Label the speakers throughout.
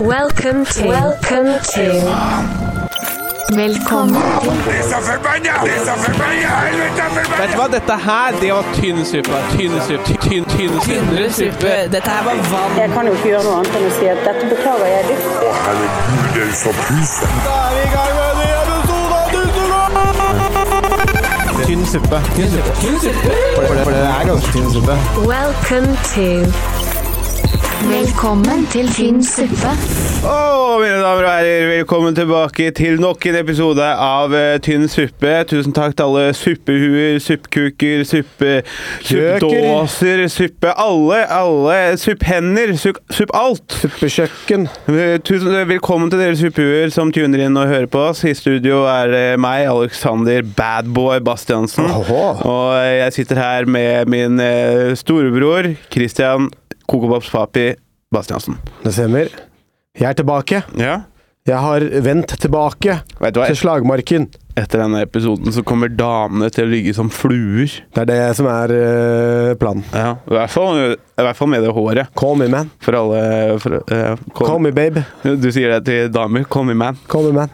Speaker 1: Welcome to Welcome to
Speaker 2: Velkommen
Speaker 3: Disse forbanna! Disse forbanna! Helvete forbanna!
Speaker 4: Vet du hva, dette her, det var tynn suppe. Tynn suppe. Tynn, tynn suppe.
Speaker 5: Dette her var vann.
Speaker 6: Jeg kan jo ikke gjøre noe annet enn å si at dette beklager jeg dypt.
Speaker 3: Å, herregud, det er så pyse.
Speaker 7: Tynn suppe. Tynn suppe. For, det, for det er ganske tynn suppe.
Speaker 1: Welcome to
Speaker 2: Velkommen til Tynn suppe.
Speaker 4: Å, mine damer og herrer, velkommen tilbake til nok en episode av eh, Tynn suppe. Tusen takk til alle suppehuer, suppekuker, suppe... Suppdåser, suppe... Alle, alle supphender, supp... Supp alt!
Speaker 7: Suppekjøkken.
Speaker 4: Eh, Tusen Velkommen til dere suppehuer som tuner inn og hører på oss. I studio er det meg, Alexander Badboy Bastiansen.
Speaker 7: Oho.
Speaker 4: Og eh, jeg sitter her med min eh, storebror Christian Kokobabs Papi Bastiansen.
Speaker 7: Det stemmer. Jeg er tilbake.
Speaker 4: Ja.
Speaker 7: Jeg har vendt tilbake
Speaker 4: Vet du hva?
Speaker 7: til slagmarken.
Speaker 4: Etter denne episoden så kommer damene til å ligge som fluer.
Speaker 7: Det er det som er eh, planen.
Speaker 4: Ja. I, hvert fall, I hvert fall med det håret.
Speaker 7: Call me, man.
Speaker 4: For alle for, eh, call-
Speaker 7: Call me, babe.
Speaker 4: Du sier det til damer. Call me man.
Speaker 7: Call me, man.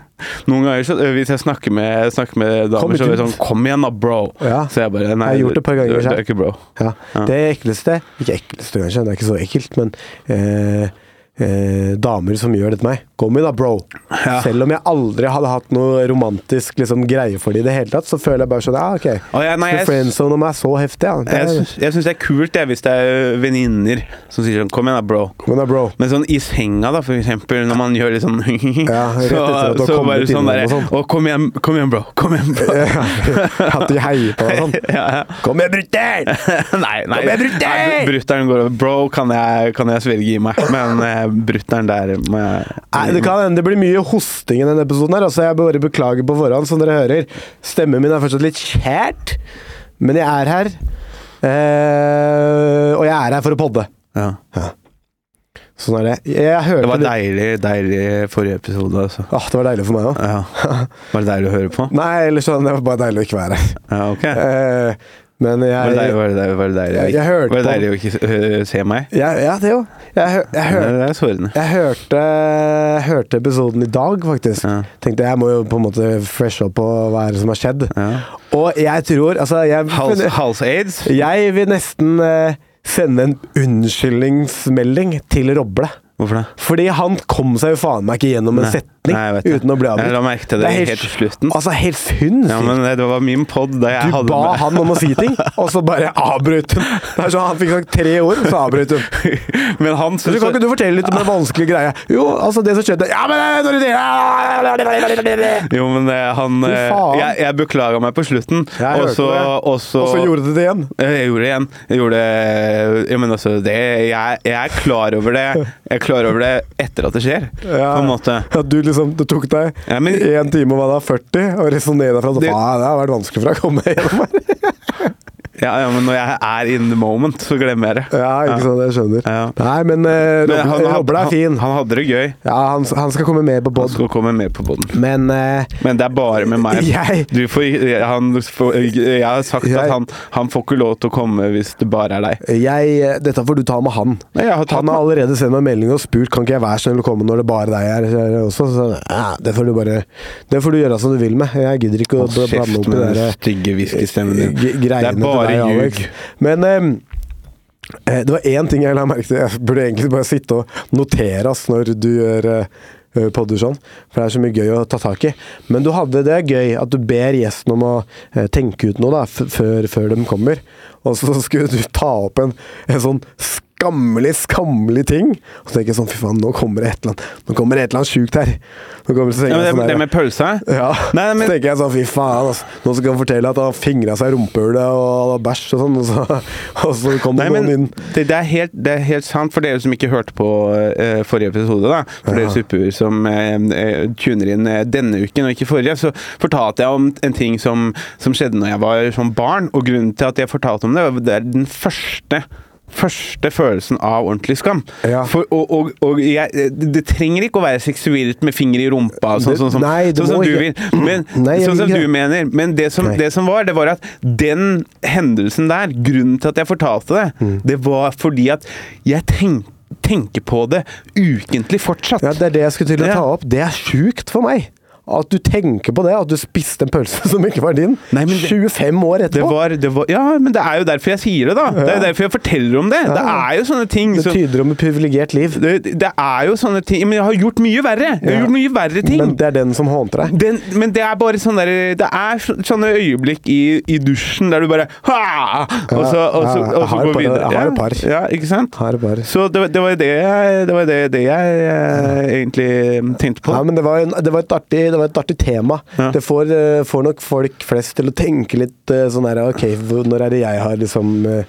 Speaker 4: Noen ganger så, ø, hvis jeg snakker med, snakker med
Speaker 7: Kom
Speaker 4: damer, så er det
Speaker 7: ut.
Speaker 4: sånn Kom igjen, da, bro.
Speaker 7: Ja.
Speaker 4: Så jeg bare Nei,
Speaker 7: Jeg har gjort det et par
Speaker 4: du,
Speaker 7: ganger
Speaker 4: du er
Speaker 7: selv.
Speaker 4: ikke bro.
Speaker 7: Ja.
Speaker 4: Ja.
Speaker 7: Det ekleste Ikke ekleste, kanskje. Det er ikke så ekkelt, men eh, eh, damer som gjør det til meg. Call me, da, bro.
Speaker 4: Ja.
Speaker 7: Selv om jeg aldri hadde hatt noe romantisk liksom, greie for det i det hele tatt, så føler jeg bare sånn Ja, OK.
Speaker 4: Å, ja, nei,
Speaker 7: Nei,
Speaker 4: jeg-
Speaker 7: Friendzone om jeg er så heftig, ja. Det
Speaker 4: Jeg
Speaker 7: er,
Speaker 4: syns jeg syns det er kult jeg, hvis det er ø, venninner som sier sånn Kom igjen, da, bro.
Speaker 7: men da, bro.
Speaker 4: Men sånn i senga, da, for eksempel, når man gjør litt sånn
Speaker 7: Ja, rett etter at
Speaker 4: Så,
Speaker 7: du har
Speaker 4: så
Speaker 7: kommet
Speaker 4: bare sånn
Speaker 7: innom
Speaker 4: derre
Speaker 7: og sånn.
Speaker 4: Å, kom igjen, kom igjen, bro. Kom igjen, bro.
Speaker 7: At de heier på deg og sånn.
Speaker 4: Ja, ja.
Speaker 7: Kom igjen, brutter'n!
Speaker 4: nei, nei.
Speaker 7: Kom igjen, brutter'n!
Speaker 4: Nei, brutter'n går over. Bro, kan jeg, kan jeg svelge i meg? Men eh, brutter'n der må jeg
Speaker 7: Nei, det kan hende det blir mye hosting i denne episoden her, altså jeg bare beklager på forhånd, som dere hører. Stemmen min er fortsatt litt kjært, men jeg er her. Eh, og jeg er her for å podde.
Speaker 4: ja.
Speaker 7: Sånn er det. Jeg hørte
Speaker 4: Det var
Speaker 7: litt-
Speaker 4: deilig, deilig forrige episode, altså.
Speaker 7: Åh, det var deilig for meg òg.
Speaker 4: Ja. Var det deilig å høre på?
Speaker 7: Nei, eller sånn, det var bare deilig å ikke være her.
Speaker 4: Ja, ok.
Speaker 7: Eh, men
Speaker 4: Var
Speaker 7: jeg,
Speaker 4: det deilig, var det deilig, var det deilig,
Speaker 7: Jeg- jeg hørte
Speaker 4: var det
Speaker 7: på-
Speaker 4: deilig å ikke se- øh, se meg?
Speaker 7: jeg Ja, det jo. Jeg, hø- jeg,
Speaker 4: Det
Speaker 7: hørte
Speaker 4: er sårende.
Speaker 7: Jeg hørte, hørte episoden i dag, faktisk.
Speaker 4: Ja.
Speaker 7: Tenkte jeg må jo på en måte freshe opp på hva er det som har skjedd.
Speaker 4: Ja.
Speaker 7: Og jeg tror Altså, jeg,
Speaker 4: Hals- Hals-aids?
Speaker 7: jeg vil nesten eh, sende en unnskyldningsmelding til Roble.
Speaker 4: Hvorfor det?
Speaker 7: Fordi han kom seg jo faen meg ikke gjennom en
Speaker 4: Nei.
Speaker 7: setning
Speaker 4: Nei, jeg vet det.
Speaker 7: uten å bli
Speaker 4: Jeg
Speaker 7: avbrutt.
Speaker 4: la merke til det
Speaker 7: er
Speaker 4: helt til slutten.
Speaker 7: Altså, helt sinnssykt.
Speaker 4: Ja, men eh, det var min pod da jeg
Speaker 7: du
Speaker 4: hadde
Speaker 7: ba
Speaker 4: med-
Speaker 7: han om å si ting, og så bare avbrøt hun. Det er sånn, Han fikk sagt tre ord, så avbrøt hun.
Speaker 4: Men han
Speaker 7: Så
Speaker 4: syntes
Speaker 7: kan ikke du fortelle litt om den vanskelige greia? Jo, altså det som skjedde Ja, men det er dårlig idé.
Speaker 4: Jo, men eh, han
Speaker 7: Fy
Speaker 4: eh,
Speaker 7: faen.
Speaker 4: Jeg, jeg beklaga meg på slutten,
Speaker 7: Jeg hørte
Speaker 4: og så
Speaker 7: det.
Speaker 4: Og så
Speaker 7: Og så gjorde du det igjen.
Speaker 4: Eh, jeg gjorde det igjen. Jeg gjorde det Ja, men altså det, jeg, jeg er klar over det Jeg er klar over det etter at det skjer,
Speaker 7: Ja.
Speaker 4: på en måte.
Speaker 7: At du liksom, det tok deg
Speaker 4: Ja, men-
Speaker 7: en time og hva da, 40, og resonnere fra at
Speaker 4: Det-
Speaker 7: faen, det har vært vanskelig for deg å komme gjennom her.
Speaker 4: Ja, ja, men når jeg er in the moment, så glemmer jeg det.
Speaker 7: Ja, ikke sant, jeg skjønner.
Speaker 4: Ja.
Speaker 7: Nei, men eh,
Speaker 4: Men
Speaker 7: Roble, Roble er fin.
Speaker 4: Han, han hadde det gøy.
Speaker 7: Ja, han, han skal komme med på
Speaker 4: Han
Speaker 7: pod.
Speaker 4: skulle komme med på boden.
Speaker 7: Men eh,
Speaker 4: Men det er bare med meg.
Speaker 7: Jeg-
Speaker 4: Du får, han, får- jeg har sagt
Speaker 7: Jeg-
Speaker 4: at han, han får ikke lov til å komme hvis det bare er deg.
Speaker 7: jeg, eh, dette får du ta med han.
Speaker 4: Nei, jeg har tatt
Speaker 7: han har allerede sendt meg melding og spurt kan ikke jeg være snill å komme når det bare er deg her eh, også. Så, ja, det, får du bare, det får du gjøre som du vil med. Jeg gidder ikke
Speaker 4: Hold
Speaker 7: å bla- blande
Speaker 4: kjeft
Speaker 7: opp i
Speaker 4: med
Speaker 7: det
Speaker 4: den
Speaker 7: der
Speaker 4: stygge hviskestemmen din.
Speaker 7: g-
Speaker 4: Det
Speaker 7: greiene
Speaker 4: er bare
Speaker 7: til
Speaker 4: ljug.
Speaker 7: deg, Alex. Men ehm, eh, det var én ting jeg la merke til. Jeg burde egentlig bare sitte og notere oss når du gjør eh, podder sånn, for det er så mye gøy å ta tak i. Men du hadde det er gøy at du ber gjesten om å eh, tenke ut noe da, f før, før de kommer. Og så skulle du ta opp en, en sånn skammelig, skammelig ting. Og så tenker jeg sånn, fy faen, nå kommer det et eller annet Nå kommer det et eller annet sjukt her. Nå kommer, så tenker
Speaker 4: Ja,
Speaker 7: jeg
Speaker 4: men
Speaker 7: sånn
Speaker 4: det,
Speaker 7: der,
Speaker 4: det med pølsa?
Speaker 7: ja,
Speaker 4: Nei, nei,
Speaker 7: så
Speaker 4: men,
Speaker 7: tenker jeg sånn, fy faen, altså. Nå skal han fortelle at han fingra seg i rumpehullet og han har bæsj og sånn, og så, og så kom det
Speaker 4: nei, men
Speaker 7: noen inn.
Speaker 4: det, det, er helt, det er helt sant for dere som ikke hørte på eh, forrige episode. da For dere suppehuer som eh, eh, tuner inn eh, denne uken og ikke forrige, så fortalte jeg om en ting som, som skjedde når jeg var som barn. Og grunnen til at jeg fortalte om det, var- det er den første Første følelsen av ordentlig skam.
Speaker 7: Ja.
Speaker 4: For, og og, og jeg, eh, det, det trenger ikke å være seksuelt med finger i rumpa, sånn,
Speaker 7: Det-
Speaker 4: sånn, som-
Speaker 7: nei, det
Speaker 4: sånn som
Speaker 7: må
Speaker 4: du vil.
Speaker 7: ikke-
Speaker 4: Men,
Speaker 7: Nei, jeg
Speaker 4: sånn
Speaker 7: vil
Speaker 4: som
Speaker 7: ikke
Speaker 4: du
Speaker 7: det.
Speaker 4: mener. Men det som,
Speaker 7: Nei.
Speaker 4: det som var, det var at
Speaker 7: Mm.
Speaker 4: den hendelsen der, grunnen til at jeg fortalte det, det var fordi at jeg tenkte tenker på det ukentlig fortsatt.
Speaker 7: Ja, det er det jeg skulle til å
Speaker 4: Ja.
Speaker 7: ta opp. Det er sjukt for meg. At du tenker på det, at du spiste en pølse som ikke var din.
Speaker 4: Nei, men det-
Speaker 7: 25 år
Speaker 4: Det
Speaker 7: etterpå.
Speaker 4: var, det var, ja, men det er jo derfor jeg sier det, da. Det er jo derfor jeg forteller om det. Det
Speaker 7: Ja.
Speaker 4: er jo sånne ting
Speaker 7: Det
Speaker 4: som
Speaker 7: tyder om et privilegert liv.
Speaker 4: det, det er jo sånne ting Men jeg har gjort mye verre! Jeg har
Speaker 7: Ja.
Speaker 4: gjort mye verre ting.
Speaker 7: Men det er den som hånter deg.
Speaker 4: Den, men det er bare sånn der, det er så- sånne øyeblikk i, i dusjen der du bare ha! Og så, og så,
Speaker 7: Ja,
Speaker 4: og så
Speaker 7: jeg har
Speaker 4: går
Speaker 7: et par-
Speaker 4: videre.
Speaker 7: jeg har
Speaker 4: Ja,
Speaker 7: et par.
Speaker 4: Ja, ikke sant?
Speaker 7: Her bare.
Speaker 4: Så det, det var det, jeg- det, var det, det jeg eh, egentlig tenkte på.
Speaker 7: Ja, men det var, en, det, var et artig, det var et artig tema.
Speaker 4: Ja.
Speaker 7: Det får, eh, får nok folk flest til å tenke litt eh, sånn her Ok, hvor- når er det jeg har liksom eh,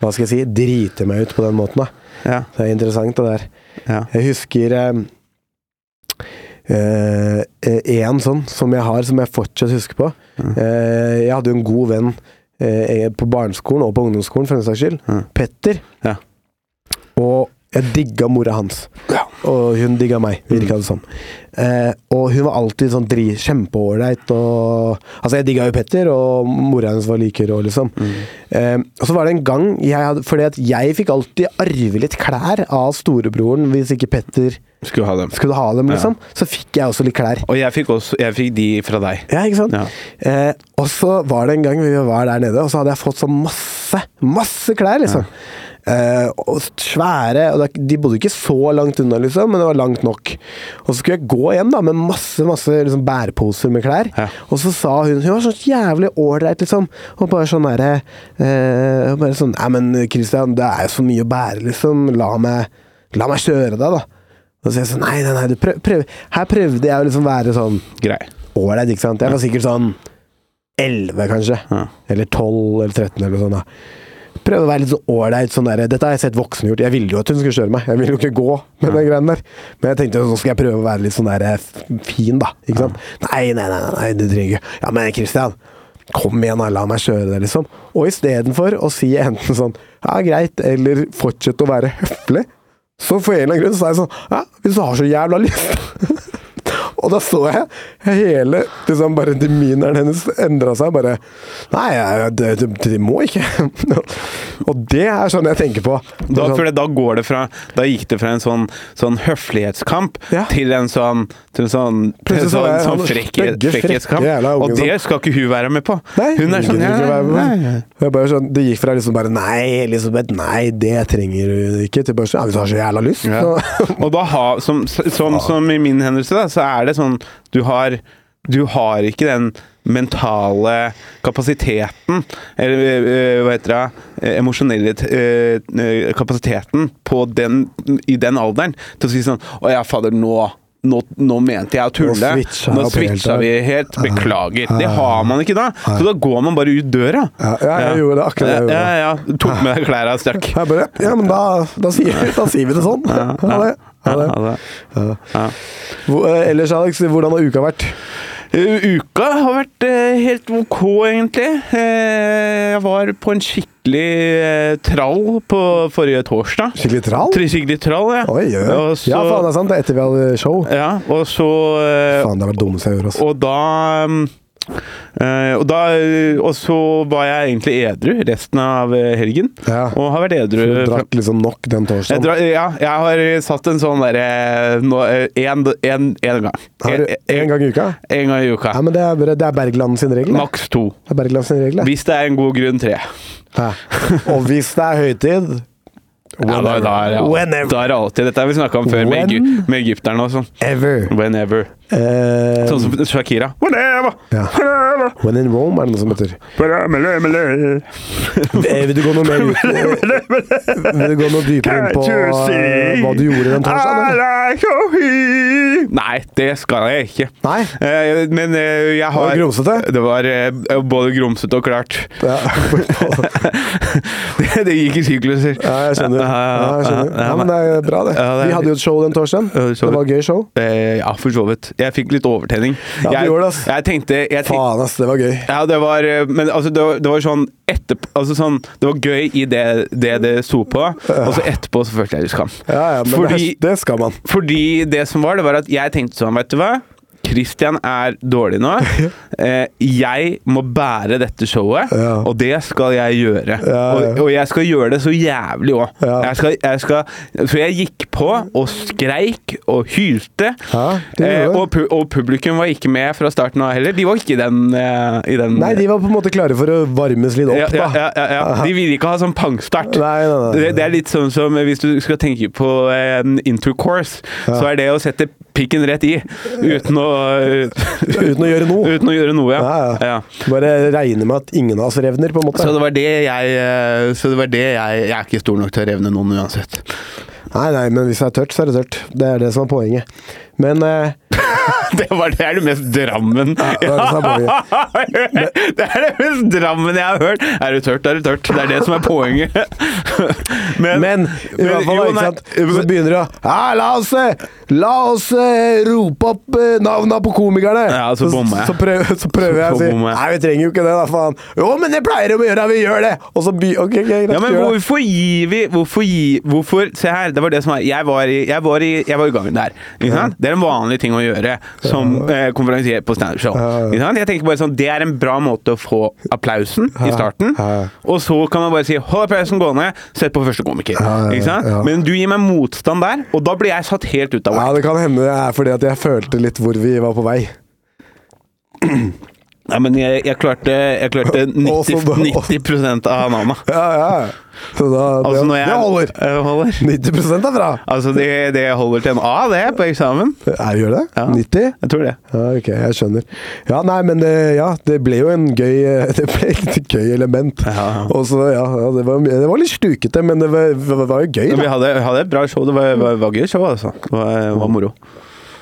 Speaker 7: Hva skal jeg si? Drite meg ut på den måten, da.
Speaker 4: Ja,
Speaker 7: Det er interessant, det der.
Speaker 4: ja.
Speaker 7: Jeg husker eh, eh, en sånn som jeg har, som jeg fortsatt husker på. Eh, jeg hadde jo en god venn eh, på barneskolen og på ungdomsskolen, for den saks skyld.
Speaker 4: Mm.
Speaker 7: Petter.
Speaker 4: Ja.
Speaker 7: Og jeg digga mora hans.
Speaker 4: Ja. Mm.
Speaker 7: Og hun digga meg, virka det som. Eh, og hun var alltid sånn dri, kjempeålreit og Altså, jeg digga jo Petter, og mora hennes var like rå, liksom.
Speaker 4: Mm.
Speaker 7: Eh, og så var det en gang jeg hadde Fordi at jeg fikk alltid arve litt klær av storebroren hvis ikke Petter
Speaker 4: Skulle ha dem.
Speaker 7: skulle ha dem,
Speaker 4: Ja.
Speaker 7: liksom. Så fikk jeg også litt klær.
Speaker 4: Og jeg fikk også jeg fikk de fra deg.
Speaker 7: Ja, ikke sant?
Speaker 4: Ja.
Speaker 7: Eh, og så var det en gang vi var der nede, og så hadde jeg fått sånn masse, masse klær, liksom. Eh, og svære og det- De bodde ikke så langt unna, liksom, men det var langt nok. Og så skulle jeg gå hjem da med masse masse liksom, bæreposer med klær.
Speaker 4: Ja.
Speaker 7: Og så sa hun Hun var så jævlig ålreit, liksom. Og bare sånn derre eh, og Bare sånn Nei, men Christian, det er jo så mye å bære, liksom. La meg, la meg kjøre deg, da. Og så sier jeg sånn Nei, nei, nei. Du prøv, prøv. Her prøvde jeg å liksom være sånn
Speaker 4: Grei.
Speaker 7: ålreit, ikke sant? Jeg var sikkert sånn 11, kanskje.
Speaker 4: Ja.
Speaker 7: Eller 12 eller 13 eller noe sånt. da. Prøvde å være litt sånn ålreit. Sånn der, Dette har jeg sett voksne gjort. Jeg ville jo at hun skulle kjøre meg. Jeg ville jo ikke gå med den greien der. Men jeg tenkte nå skal jeg prøve å være litt sånn der eh, f- fin, da. Ikke sant? Nei, nei, nei, nei, nei, du trenger ikke Ja, men Christian, kom igjen, da. La meg kjøre deg, liksom. Og istedenfor å si enten sånn ja, greit, eller fortsette å være høflig, så for en eller annen grunn så er jeg sånn ja, hvis du har så jævla lyst og da så jeg hele liksom bare demineren hennes endra seg. Bare Nei, jeg- det, det, det må ikke. og det er sånn jeg tenker på.
Speaker 4: Da,
Speaker 7: Sånn,
Speaker 4: for det, da, går det fra, da gikk det fra en sånn, sånn høflighetskamp
Speaker 7: Ja.
Speaker 4: til en sånn, til en sånn, til en
Speaker 7: Plutselig så
Speaker 4: sånn,
Speaker 7: var jeg
Speaker 4: sånn
Speaker 7: han
Speaker 4: frekk,
Speaker 7: stygge, frekke
Speaker 4: frekkhetskamp.
Speaker 7: jævla
Speaker 4: Og
Speaker 7: ungen
Speaker 4: det skal ikke hun være med på!
Speaker 7: Nei,
Speaker 4: hun er sånn
Speaker 7: gidder
Speaker 4: ja,
Speaker 7: ikke være med.
Speaker 4: nei,
Speaker 7: Det er bare sånn, det gikk fra liksom bare Nei, Elisabeth, nei, det trenger du ikke, til bare sånn Ja, hvis du har så jævla lyst,
Speaker 4: ja.
Speaker 7: så
Speaker 4: Og da ha, som, som, som i min hendelse, da, så er det sånn Du har, du har ikke den mentale kapasiteten Eller eh, hva heter det? eh, Emosjonelle eh, eh, kapasiteten på den, i den alderen til å si sånn Å ja, fader, nå nå, nå mente jeg å tulle.
Speaker 7: Nå switcha jeg
Speaker 4: Nå
Speaker 7: opp helt
Speaker 4: switcha
Speaker 7: der.
Speaker 4: vi helt. Beklager. Det har man ikke da.
Speaker 7: Nei.
Speaker 4: Så da går man bare ut døra.
Speaker 7: Ja, ja, jeg gjorde det, akkurat det jeg gjorde.
Speaker 4: Ja, ja, ja. Tok med deg klærne og stakk.
Speaker 7: jeg bare, Ja, men da, da, sier, da sier vi det sånn. Ha det. Ha
Speaker 4: Ha
Speaker 7: det.
Speaker 4: det. Ja.
Speaker 7: Hvor- eh, Ellers, Alex, hvordan har uka vært?
Speaker 4: Eh, Uka har vært eh, helt ok, egentlig. Eh, Jeg var på en skikkelig eh, trall på forrige torsdag.
Speaker 7: Skikkelig tral?
Speaker 4: Tre skikkelig trall, ja.
Speaker 7: Oi, oi, oi.
Speaker 4: Og så,
Speaker 7: Ja, faen, det er sant. Det er etter vi hadde show.
Speaker 4: ja, og så eh,
Speaker 7: Faen, det var det dummeste jeg gjorde, altså.
Speaker 4: Og da mm, eh, og, da, eh, og så var jeg egentlig edru resten av eh, helgen,
Speaker 7: Ja.
Speaker 4: og har vært edru
Speaker 7: Du
Speaker 4: fra-
Speaker 7: drakk liksom nok
Speaker 4: eh,
Speaker 7: den
Speaker 4: jeg
Speaker 7: torsdagen.
Speaker 4: drar, ja, jeg har satt en sånn derre Én gang.
Speaker 7: Har du en gang i uka?
Speaker 4: En gang i
Speaker 7: Ja,
Speaker 4: uka.
Speaker 7: men det er, bare- det er Bergland sin regel. det.
Speaker 4: Maks to.
Speaker 7: Det er Bergland sin regel, det.
Speaker 4: Hvis det er en god grunn, tre.
Speaker 7: Ja. Og hvis det er høytid
Speaker 4: Ja, da, da, er det, al-
Speaker 7: Whenever.
Speaker 4: da er det alltid Dette har vi snakka om før med,
Speaker 7: When-
Speaker 4: Egy- med egypterne og sånn.
Speaker 7: Ever.
Speaker 4: Whenever.
Speaker 7: Eh,
Speaker 4: Sånn som Shakira. Whenever!
Speaker 7: Ja.
Speaker 4: Whenever!
Speaker 7: When in Rome er det noe som heter.
Speaker 4: Whenever!
Speaker 7: Eh, Vil du gå noe mer ut eh, Vil du gå noe dypere inn på eh, hva du gjorde den torsdagen? eller?
Speaker 4: I like to hear. Nei, det skal jeg ikke.
Speaker 7: Nei?
Speaker 4: Eh, Men eh, jeg har
Speaker 7: Var det grumsete?
Speaker 4: Det var eh, både grumsete og klart.
Speaker 7: Ja.
Speaker 4: det, det gikk i sykluser.
Speaker 7: ja, jeg skjønner. Ja, jeg skjønner. Ja, men det er bra, det.
Speaker 4: Ja, det er-
Speaker 7: Vi hadde jo et show den torsdagen.
Speaker 4: Ja, det så
Speaker 7: Det var
Speaker 4: vi.
Speaker 7: et gøy show.
Speaker 4: Eh, ja, for så vidt. Jeg fikk litt overtenning.
Speaker 7: Ja, du
Speaker 4: jeg,
Speaker 7: gjorde det, ass.
Speaker 4: jeg tenkte jeg tenk,
Speaker 7: Faen, ass. Det var gøy.
Speaker 4: ja, det var, eh, Men altså, det var, det var sånn etterpå altså, sånn, Det var gøy i det det, det sto på, og så etterpå så følte jeg litt skam.
Speaker 7: Ja, ja, men
Speaker 4: Fordi-
Speaker 7: det, det skal man.
Speaker 4: Fordi det som var, det var at jeg tenkte sånn, vet du hva Christian er dårlig nå. Eh, jeg må bære dette showet,
Speaker 7: Ja.
Speaker 4: og det skal jeg gjøre.
Speaker 7: Ja, ja.
Speaker 4: Og, og jeg skal gjøre det så jævlig òg.
Speaker 7: Ja.
Speaker 4: Jeg skal, jeg skal, så jeg gikk på og skreik og hylte.
Speaker 7: Ja, det gjorde
Speaker 4: eh,
Speaker 7: du.
Speaker 4: og, pu og publikum var ikke med fra starten av heller. De var ikke i den, eh, i den
Speaker 7: Nei, de var på en måte klare for å varmes litt
Speaker 4: ja,
Speaker 7: opp,
Speaker 4: ja, ja,
Speaker 7: da.
Speaker 4: ja, ja. De vil ikke ha sånn pangstart.
Speaker 7: Nei, nei, nei.
Speaker 4: Det, det er litt sånn som hvis du skal tenke på eh, intercourse, så er det å sette pikken rett i uten å
Speaker 7: Uten å gjøre noe.
Speaker 4: Uten å gjøre noe, ja.
Speaker 7: Ja, ja.
Speaker 4: ja.
Speaker 7: Bare regne med at ingen av oss revner, på en måte.
Speaker 4: Så det var det jeg eh, Så det var det jeg Jeg er ikke stor nok til å revne noen uansett.
Speaker 7: Nei, nei, men hvis det er tørt, så er det tørt. Det er det som er poenget. Men eh,
Speaker 4: Det var det er det mest Drammen
Speaker 7: det er det som er
Speaker 4: Det er det mest Drammen jeg har hørt! Er det tørt, er det tørt. Det er det som er poenget. Men,
Speaker 7: Men i hvert fall,
Speaker 4: jo,
Speaker 7: ikke
Speaker 4: nei,
Speaker 7: sant? Så begynner de å «Ja, La oss, eh, la oss eh, rope opp eh, navna på komikerne!
Speaker 4: Ja, så bommer jeg.
Speaker 7: Så, prøv, så prøver jeg å
Speaker 4: Så
Speaker 7: si
Speaker 4: bommer jeg.
Speaker 7: Nei, vi trenger jo ikke det, da, faen. Jo, men det pleier de å gjøre, vi gjør det! Og så by... Ok, ok, greit.
Speaker 4: Ja, men
Speaker 7: gjør det.
Speaker 4: hvorfor gir vi Hvorfor gir Hvorfor Se her, det var det som var Jeg var i, jeg var i, jeg var i gangen der. Ikke sant? Det er en vanlig ting å gjøre som eh, konferansier på standup-show.
Speaker 7: Ja.
Speaker 4: Ikke sant? Jeg tenker bare sånn Det er en bra måte å få applausen i starten,
Speaker 7: Ja.
Speaker 4: og så kan man bare si 'hold applausen gående', sett på første komiker.
Speaker 7: Ja, ja,
Speaker 4: Ikke sant?
Speaker 7: ja.
Speaker 4: Men du gir meg motstand der, og da blir jeg satt helt ut av
Speaker 7: Ja,
Speaker 4: whack.
Speaker 7: det kan hende det er fordi at jeg følte litt hvor vi var på vei.
Speaker 4: Ja, men jeg, jeg klarte, jeg klarte 90,
Speaker 7: så da-
Speaker 4: 90 av navna.
Speaker 7: Ja, ja. Så da
Speaker 4: Altså,
Speaker 7: det,
Speaker 4: når jeg
Speaker 7: det holder.
Speaker 4: Eh, holder.
Speaker 7: 90 er bra!
Speaker 4: Altså, det, det holder til en A, det, på eksamen.
Speaker 7: Ja, vi gjør det?
Speaker 4: Ja.
Speaker 7: 90?
Speaker 4: Jeg tror det.
Speaker 7: Ja, ok, jeg skjønner. Ja, nei, men det, ja, det ble jo en gøy Det ble et gøy element.
Speaker 4: Ja.
Speaker 7: Og så, ja, ja det, var, det var litt stukete, men det var, var, var jo gøy,
Speaker 4: Men vi
Speaker 7: da.
Speaker 4: hadde, hadde et bra show. Det var, var, var gøy show, altså. Det var, var moro.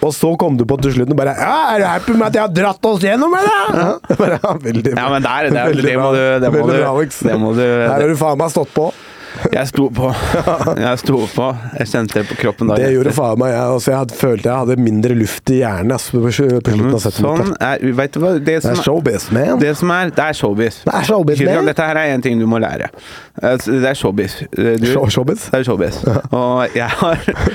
Speaker 7: Og så kom du på til slutten bare Ja, er du happy med at jeg har dratt oss gjennom, eller? Ja, bare, ja, veldig bra.
Speaker 4: Ja, men der, der
Speaker 7: Veldig
Speaker 4: det må
Speaker 7: bra.
Speaker 4: du Det må du,
Speaker 7: Veldig bra, Alex.
Speaker 4: det må du
Speaker 7: Her har du faen meg stått på.
Speaker 4: Jeg sto på. Jeg sto på. Jeg kjente det på kroppen da.
Speaker 7: Det gjorde faen meg jeg. Altså, jeg hadde, følte jeg hadde mindre luft i hjernen ass, på, på slutten av settet mitt.
Speaker 4: Sånn
Speaker 7: ass.
Speaker 4: er Vet du hva det
Speaker 7: Det
Speaker 4: som
Speaker 7: er showbiz, man.
Speaker 4: det som er, det er showbiz.
Speaker 7: Det er showbiz,
Speaker 4: Kristian,
Speaker 7: man.
Speaker 4: Dette her er en ting du må lære. Altså, Det er showbiz. Du,
Speaker 7: Show- showbiz?
Speaker 4: Det er showbiz. Og jeg har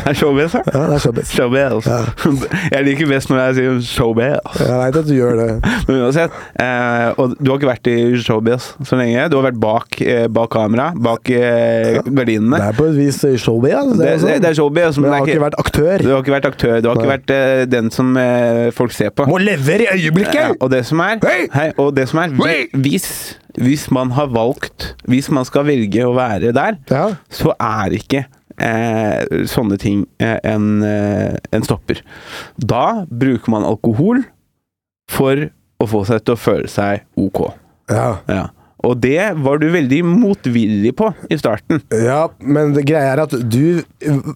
Speaker 4: Det er showbiz, ja?
Speaker 7: Ja, det er showbiz.
Speaker 4: Showbiz. Jeg liker best når jeg sier showbiz.
Speaker 7: Jeg veit at du gjør det.
Speaker 4: Men uansett, eh, og du har ikke vært i showbiz så lenge. Du har vært bak, eh, bak kamera, bak eh,
Speaker 7: Det
Speaker 4: gardinene.
Speaker 7: er på et vis eh, showbiz. ass.
Speaker 4: Det, det,
Speaker 7: sånn.
Speaker 4: det er showbiz. det
Speaker 7: Men jeg
Speaker 4: er
Speaker 7: har ikke vært aktør.
Speaker 4: du har ikke vært aktør. Du har ikke
Speaker 7: Nei.
Speaker 4: vært eh, den som eh, folk ser på.
Speaker 7: Må levere i øyeblikket!
Speaker 4: Ja, og det som er,
Speaker 7: Hei!
Speaker 4: og det som er
Speaker 7: Hei!
Speaker 4: hvi- hvis, hvis man har valgt Hvis man skal velge å være der,
Speaker 7: Ja.
Speaker 4: så er ikke eh, sånne ting eh, en, eh, en stopper. Da bruker man alkohol for å få seg til å føle seg ok.
Speaker 7: Ja.
Speaker 4: Ja. Og det var du veldig motvillig på i starten.
Speaker 7: ja, men det greia er at du eh,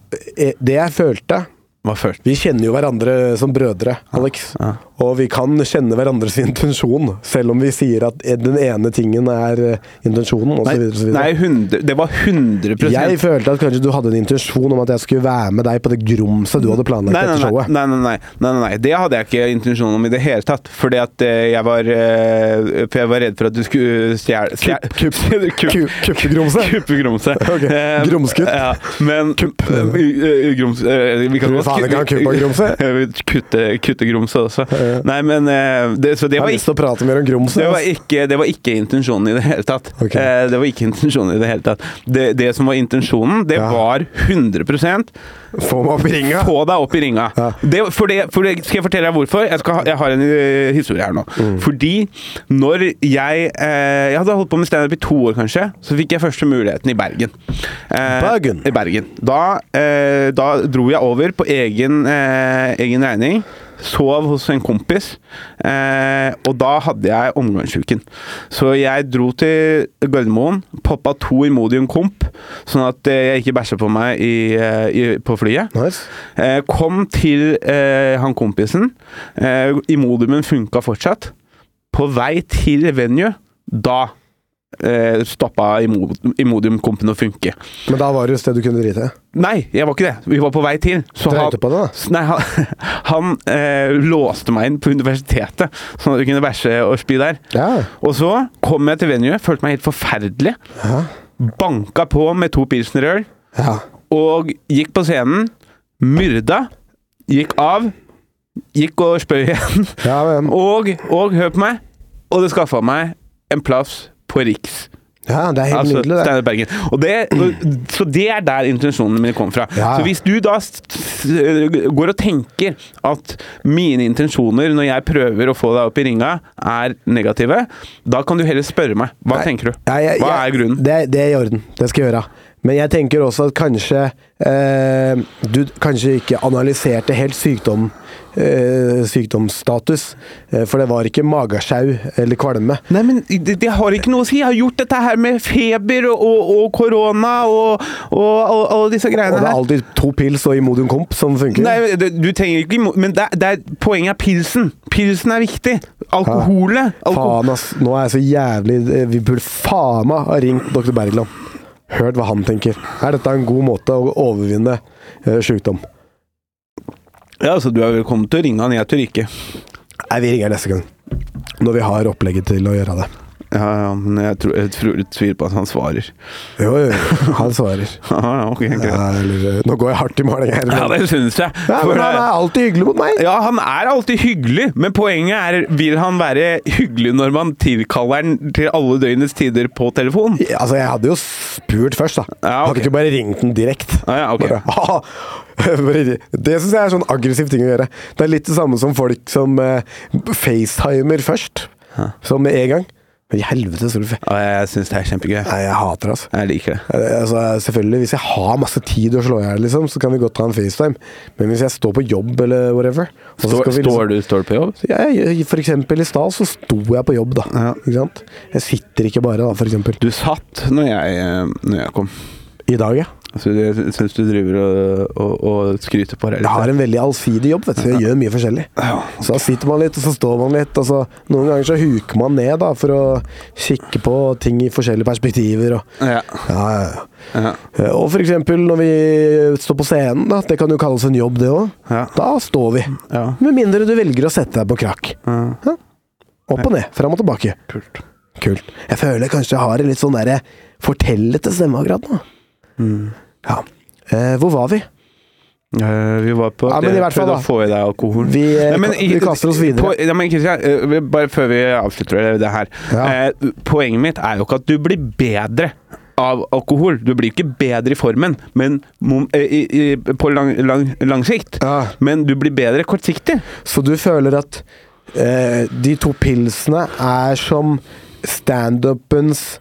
Speaker 7: Det jeg følte
Speaker 4: Hva følte du?
Speaker 7: Vi kjenner jo hverandre som brødre, Alex.
Speaker 4: Ja.
Speaker 7: Og vi kan kjenne hverandres intensjon, selv om vi sier at eh, den ene tingen er eh, intensjonen,
Speaker 4: Nei,
Speaker 7: osv.
Speaker 4: nei 100, det var 100
Speaker 7: Jeg følte at kanskje du hadde en intensjon om at jeg skulle være med deg på det grumset du hadde planlagt
Speaker 4: nei, nei,
Speaker 7: etter
Speaker 4: nei,
Speaker 7: showet.
Speaker 4: Nei nei nei, nei, nei, nei. Det hadde jeg ikke intensjon om i det hele tatt. Fordi at eh, jeg var eh, For jeg var redd for at du skulle stjele stjel,
Speaker 7: Kupp- kupp- kupp- kuppgrumse?
Speaker 4: Kuppegrumse.
Speaker 7: Ok, grumskutt.
Speaker 4: Eh, Ja, men Kupp. grums, eh, vi kan
Speaker 7: Tror du faen ikke han kuppa grumse?
Speaker 4: Kutte, kutte grumse også.
Speaker 7: ja.
Speaker 4: Nei, men eh, det, Så det
Speaker 7: Jeg
Speaker 4: var
Speaker 7: har lyst til å prate mer om grumset.
Speaker 4: det var,
Speaker 7: ass.
Speaker 4: ikke, det var ikke intensjonen i det hele tatt.
Speaker 7: Ok.
Speaker 4: Eh, det var ikke intensjonen i det hele tatt. Det, det som var intensjonen, det
Speaker 7: Ja.
Speaker 4: var 100
Speaker 7: Få meg opp i ringa!
Speaker 4: få deg opp i ringa.
Speaker 7: Ja.
Speaker 4: Det, for det, for det, skal jeg fortelle deg hvorfor? Jeg, skal ha, jeg har en eh, historie her nå.
Speaker 7: Mm.
Speaker 4: Fordi når jeg eh, Jeg hadde holdt på med standup i to år, kanskje. Så fikk jeg første muligheten i Bergen. Eh,
Speaker 7: Bergen.
Speaker 4: I Bergen. Da, eh, da dro jeg over på egen, eh, egen regning. Sov hos en kompis, eh, og da hadde jeg omgangsuken. Så jeg dro til Gardermoen, poppa to Imodium Comp, sånn at eh, jeg ikke bæsja på meg i, eh, i, på flyet.
Speaker 7: Nice.
Speaker 4: Eh, kom til eh, han kompisen. Eh, Imodumen funka fortsatt. På vei til venue, da eh, stoppa Imod- Imodium-kompen å funke.
Speaker 7: Men da var det jo et sted du kunne drite.
Speaker 4: Nei, jeg var ikke det. Vi var på vei til. Så
Speaker 7: Dreit
Speaker 4: han-
Speaker 7: du på det, da?
Speaker 4: S- Nei, han, han eh, låste meg inn på universitetet, sånn at du kunne bæsje og spy der.
Speaker 7: Ja.
Speaker 4: Og så kom jeg til venue, følte meg helt forferdelig.
Speaker 7: Ja.
Speaker 4: Banka på med to pilsnerøl
Speaker 7: ja.
Speaker 4: og gikk på scenen, myrda, gikk av, Gikk og spøy igjen.
Speaker 7: Ja, men,
Speaker 4: Og, og hør på meg, og det skaffa meg en plass på Riks.
Speaker 7: ja, det er helt
Speaker 4: Altså
Speaker 7: nydelig, det.
Speaker 4: Steinar Bergen. Og det, og- så det er der intensjonene mine kommer fra.
Speaker 7: Ja.
Speaker 4: Så hvis du da s- s- går og tenker at mine intensjoner når jeg prøver å få deg opp i ringa, er negative, da kan du heller spørre meg. Hva tenker du?
Speaker 7: Nei, jeg-
Speaker 4: Hva er
Speaker 7: jeg-
Speaker 4: grunnen?
Speaker 7: Det, det er i orden. Det skal jeg gjøre. Men jeg tenker også at kanskje eh, du kanskje ikke analyserte helt sykdom, eh, sykdomsstatus. Eh, for det var ikke magesjau eller kvalme.
Speaker 4: Nei, men det, det har ikke noe å si. Jeg har gjort dette her med feber og- og og korona og, og, og, og disse
Speaker 7: Og
Speaker 4: greiene
Speaker 7: det
Speaker 4: her.
Speaker 7: er alltid to pils og Imodium Comp som funker.
Speaker 4: Nei, men det, du trenger ikke imo- Men det, er- det er, poenget er pilsen. Pilsen er viktig. Alkoholet alko
Speaker 7: Faen, ass. Nå er jeg så jævlig eh, Vi burde faen meg ha ringt dr. Bergland. Hørt hva han tenker. Er dette en god måte å overvinne eh, sykdom?
Speaker 4: Ja, altså, Du er velkommen til å ringe han. Jeg tør ikke.
Speaker 7: Nei, vi ringer neste gang. Når vi har opplegget til å gjøre det.
Speaker 4: Ja, ja, men jeg, tror, jeg, tror, jeg tviler på at han svarer.
Speaker 7: Jo, jo, jo. Han svarer.
Speaker 4: Ja, ja, ok, greit.
Speaker 7: Ja, eller, eh, nå går jeg hardt i maling her.
Speaker 4: Ja,
Speaker 7: Men,
Speaker 4: det syns jeg.
Speaker 7: ja,
Speaker 4: For,
Speaker 7: men han er alltid hyggelig mot meg.
Speaker 4: ja, han er alltid hyggelig, men poenget er Vil han være hyggelig når man tilkaller han til alle døgnets tider på telefon?
Speaker 7: Ja, Altså, jeg hadde jo spurt først, da.
Speaker 4: Ja, ok.
Speaker 7: Hadde ikke du bare ringt den direkte?
Speaker 4: Ja, ja, ok.
Speaker 7: Bare, «Ah!» Bare- Det syns jeg er sånn aggressiv ting å gjøre. Det er litt det samme som folk som eh, facetimer først. Som med en gang. Men i helvete, så du fe-
Speaker 4: Ja, jeg syns det er kjempegøy.
Speaker 7: Nei, jeg hater det, altså.
Speaker 4: Jeg liker det.
Speaker 7: Eh, Altså, selvfølgelig, Hvis jeg har masse tid å slå i hjel, liksom, så kan vi godt ta en FaceTime. Men hvis jeg står på jobb eller whatever og så
Speaker 4: Står,
Speaker 7: skal vi liksom-
Speaker 4: står, du, står du på jobb?
Speaker 7: Ja, jeg- for eksempel i stad så sto jeg på jobb, da. Ikke sant? Jeg sitter ikke bare, da, for eksempel.
Speaker 4: Du satt når jeg, eh, når jeg kom.
Speaker 7: I dag, ja.
Speaker 4: Så jeg syns du driver og, og, og skryter på deg
Speaker 7: Jeg har en veldig allsidig jobb, vet du. Jeg gjør mye forskjellig.
Speaker 4: Ja.
Speaker 7: Så da sitter man litt, og så står man litt, og så noen ganger så huker man ned da, for å kikke på ting i forskjellige perspektiver. Og,
Speaker 4: Ja.
Speaker 7: ja, ja, ja.
Speaker 4: Ja.
Speaker 7: Eh, og for eksempel når vi står på scenen, da, det kan jo kalles en jobb det òg,
Speaker 4: Ja.
Speaker 7: da står vi.
Speaker 4: Ja.
Speaker 7: Med mindre du velger å sette deg på krakk. Ja. Opp og ned, fram og tilbake.
Speaker 4: Kult.
Speaker 7: Kult. Jeg føler kanskje jeg har en litt sånn derre fortellete stemme akkurat nå. Mm. Ja. Eh, hvor var vi?
Speaker 4: Eh, vi var på
Speaker 7: Ja, men i hvert fall
Speaker 4: prøvde
Speaker 7: da.
Speaker 4: å få i deg alkohol.
Speaker 7: Vi, eh,
Speaker 4: Nei, men
Speaker 7: ka- vi
Speaker 4: i-
Speaker 7: kaster oss videre.
Speaker 4: På, ja, men Christian, eh, vi- bare før vi avslutter det her.
Speaker 7: Ja.
Speaker 4: Eh, poenget mitt er jo ikke at du blir bedre av alkohol. Du blir ikke bedre i formen men, mom- eh, i, i, på lang, lang, lang sikt.
Speaker 7: Ja.
Speaker 4: Men du blir bedre kortsiktig.
Speaker 7: Så du føler at eh, de to pilsene er som standupens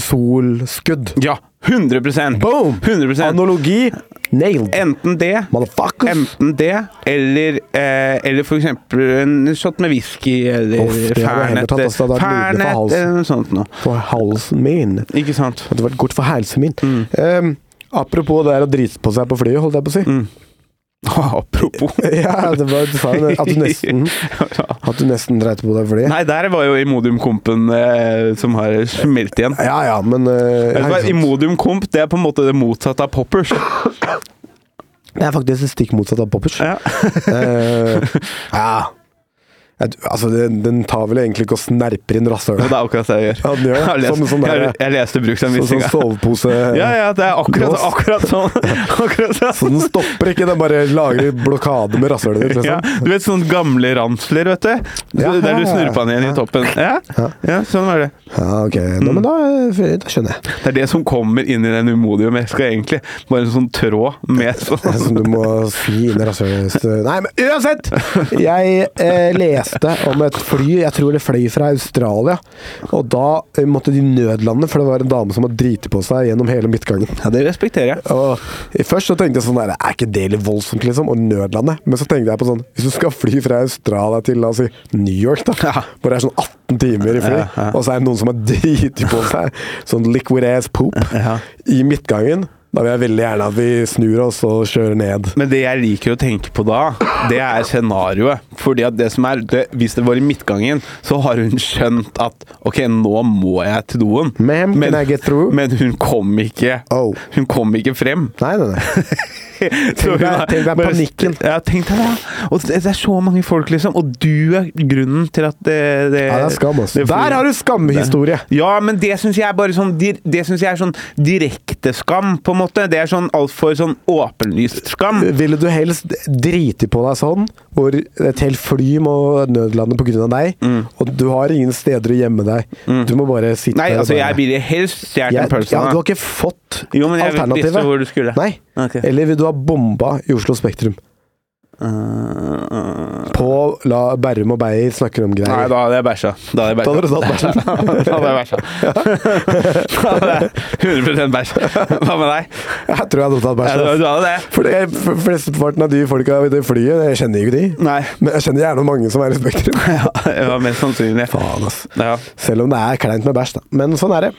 Speaker 7: kortisolskudd?
Speaker 4: Ja, 100
Speaker 7: Boom!
Speaker 4: 100
Speaker 7: Analogi nailed!
Speaker 4: Enten det
Speaker 7: Motherfuckers!
Speaker 4: Enten det, eller, eh, eller for eksempel en shot med whisky, eller
Speaker 7: Uff, det hadde jeg heller
Speaker 4: fernet,
Speaker 7: tatt, altså. Det hadde vært nydelig for
Speaker 4: fernet
Speaker 7: halsen.
Speaker 4: eller noe sånt noe.
Speaker 7: For halsen min. Det
Speaker 4: Ikke sant?
Speaker 7: hadde vært godt for helsen min.
Speaker 4: Mm.
Speaker 7: Ehm, apropos det her å drite på seg på flyet, holdt jeg på å si.
Speaker 4: Mm. apropos
Speaker 7: Ja, det var, du sa jo det, at du nesten
Speaker 4: Ja.
Speaker 7: At du nesten dreit på deg på flyet.
Speaker 4: Nei, der var jo Imodium Kompen eh, som har smelt igjen.
Speaker 7: Ja ja, men
Speaker 4: Vet
Speaker 7: eh,
Speaker 4: du hva,
Speaker 7: ikke sant.
Speaker 4: Imodium Komp det er på en måte det motsatte av poppers.
Speaker 7: Det er faktisk det stikk motsatt av poppers.
Speaker 4: Ja.
Speaker 7: Eh, ja. Jeg t- Altså, den, den tar vel egentlig ikke og snerper inn
Speaker 4: Det
Speaker 7: rasshølet.
Speaker 4: er akkurat det jeg gjør.
Speaker 7: Ja, den gjør det.
Speaker 4: Jeg, har lest,
Speaker 7: Sånn- sånn der-
Speaker 4: jeg, jeg leste
Speaker 7: Sånn som
Speaker 4: bruksanvisninga.
Speaker 7: sovepose
Speaker 4: ja, ja, det er akkurat,
Speaker 7: Lås.
Speaker 4: akkurat sånn. Akkurat
Speaker 7: Så
Speaker 4: sånn.
Speaker 7: den stopper ikke, den bare lager blokade med rasshølet ditt.
Speaker 4: Ja,
Speaker 7: Liksom.
Speaker 4: sånn. du vet sånne gamle ransler, vet du? Så
Speaker 7: Ja.
Speaker 4: Der du snurpa den igjen i toppen. Ja, ja sånn var det.
Speaker 7: Ja, ok. Nå, men da,
Speaker 4: Mm.
Speaker 7: da skjønner jeg.
Speaker 4: Det er det som kommer inn i den umodium-eska, egentlig. Bare en sånn tråd med sånn
Speaker 7: Som du må si inn i rasshølet hvis du- Nei, men uansett! Jeg eh, leste om et fly, jeg tror det fløy fra Australia. Og da eh, måtte de nødlande, for det var en dame som hadde driti på seg gjennom hele midtgangen.
Speaker 4: Ja, det respekterer jeg.
Speaker 7: Og Først så tenkte jeg sånn der, Er ikke det litt voldsomt, liksom? Og nødlandet. Men så tenkte jeg på sånn Hvis du skal fly fra Australia til la oss si, New York, da,
Speaker 4: Ja.
Speaker 7: hvor det er sånn 18 timer i fly,
Speaker 4: Ja, ja.
Speaker 7: og så er det noen som har driti på seg sånn liquid ass poop
Speaker 4: Ja.
Speaker 7: i midtgangen da vil jeg veldig gjerne at vi snur oss og kjører ned.
Speaker 4: Men det jeg liker å tenke på da, det er scenarioet. Fordi at det som er det, Hvis det var i midtgangen, så har hun skjønt at OK, nå må jeg til doen.
Speaker 7: Ma'am, can I get through?
Speaker 4: men hun kom ikke
Speaker 7: Oh.
Speaker 4: Hun kom ikke frem.
Speaker 7: Nei, nei, nei.
Speaker 4: Så hun
Speaker 7: deg-
Speaker 4: har
Speaker 7: tenk deg
Speaker 4: bare-
Speaker 7: panikken.
Speaker 4: Ja, tenk deg det. ja. Og det det er så mange folk, liksom. Og du er grunnen til at det, det
Speaker 7: Ja, det er skam, altså.
Speaker 4: det-
Speaker 7: Der har du skamhistorie!
Speaker 4: Ja, men det syns jeg er bare sånn dir- Det synes jeg er sånn direkte skam, på en måte. Det er sånn altfor sånn åpenlyst skam.
Speaker 7: Ville du helst driti på deg sånn, hvor et helt fly må nødlande pga. deg,
Speaker 4: Mm.
Speaker 7: og du har ingen steder å gjemme deg. Du må bare sitte
Speaker 4: Nei,
Speaker 7: der og
Speaker 4: altså,
Speaker 7: bare-
Speaker 4: jeg ville helst stjålet en
Speaker 7: Jeg-
Speaker 4: pølse.
Speaker 7: Ja,
Speaker 4: da.
Speaker 7: du har ikke fått
Speaker 4: Jo, men jeg visste
Speaker 7: alternativet.
Speaker 4: hvor du skulle.
Speaker 7: Nei.
Speaker 4: Ok.
Speaker 7: Eller vil du ha bomba i Oslo Spektrum?
Speaker 4: Øh,
Speaker 7: På la Berrum og Beyer snakker om greier.
Speaker 4: Nei, da hadde jeg bæsja. Da hadde jeg
Speaker 7: Da hadde du
Speaker 4: bæsja.
Speaker 7: tatt bæsjen.
Speaker 4: Da hadde jeg bæsja. Da hadde jeg 100 bæsja. Hva med deg?
Speaker 7: Jeg tror jeg hadde tatt
Speaker 4: Ja, Du
Speaker 7: bæsjen.
Speaker 4: du
Speaker 7: ass.
Speaker 4: hadde det?
Speaker 7: For det- for Flesteparten av de folka i det flyet, jeg kjenner jo ikke de.
Speaker 4: Nei.
Speaker 7: Men jeg kjenner gjerne mange som er i Spektrum.
Speaker 4: Ja, det var mest sannsynlig.
Speaker 7: Faen, ass.
Speaker 4: Ja.
Speaker 7: Selv om det er kleint med bæsj, da. Men sånn er det.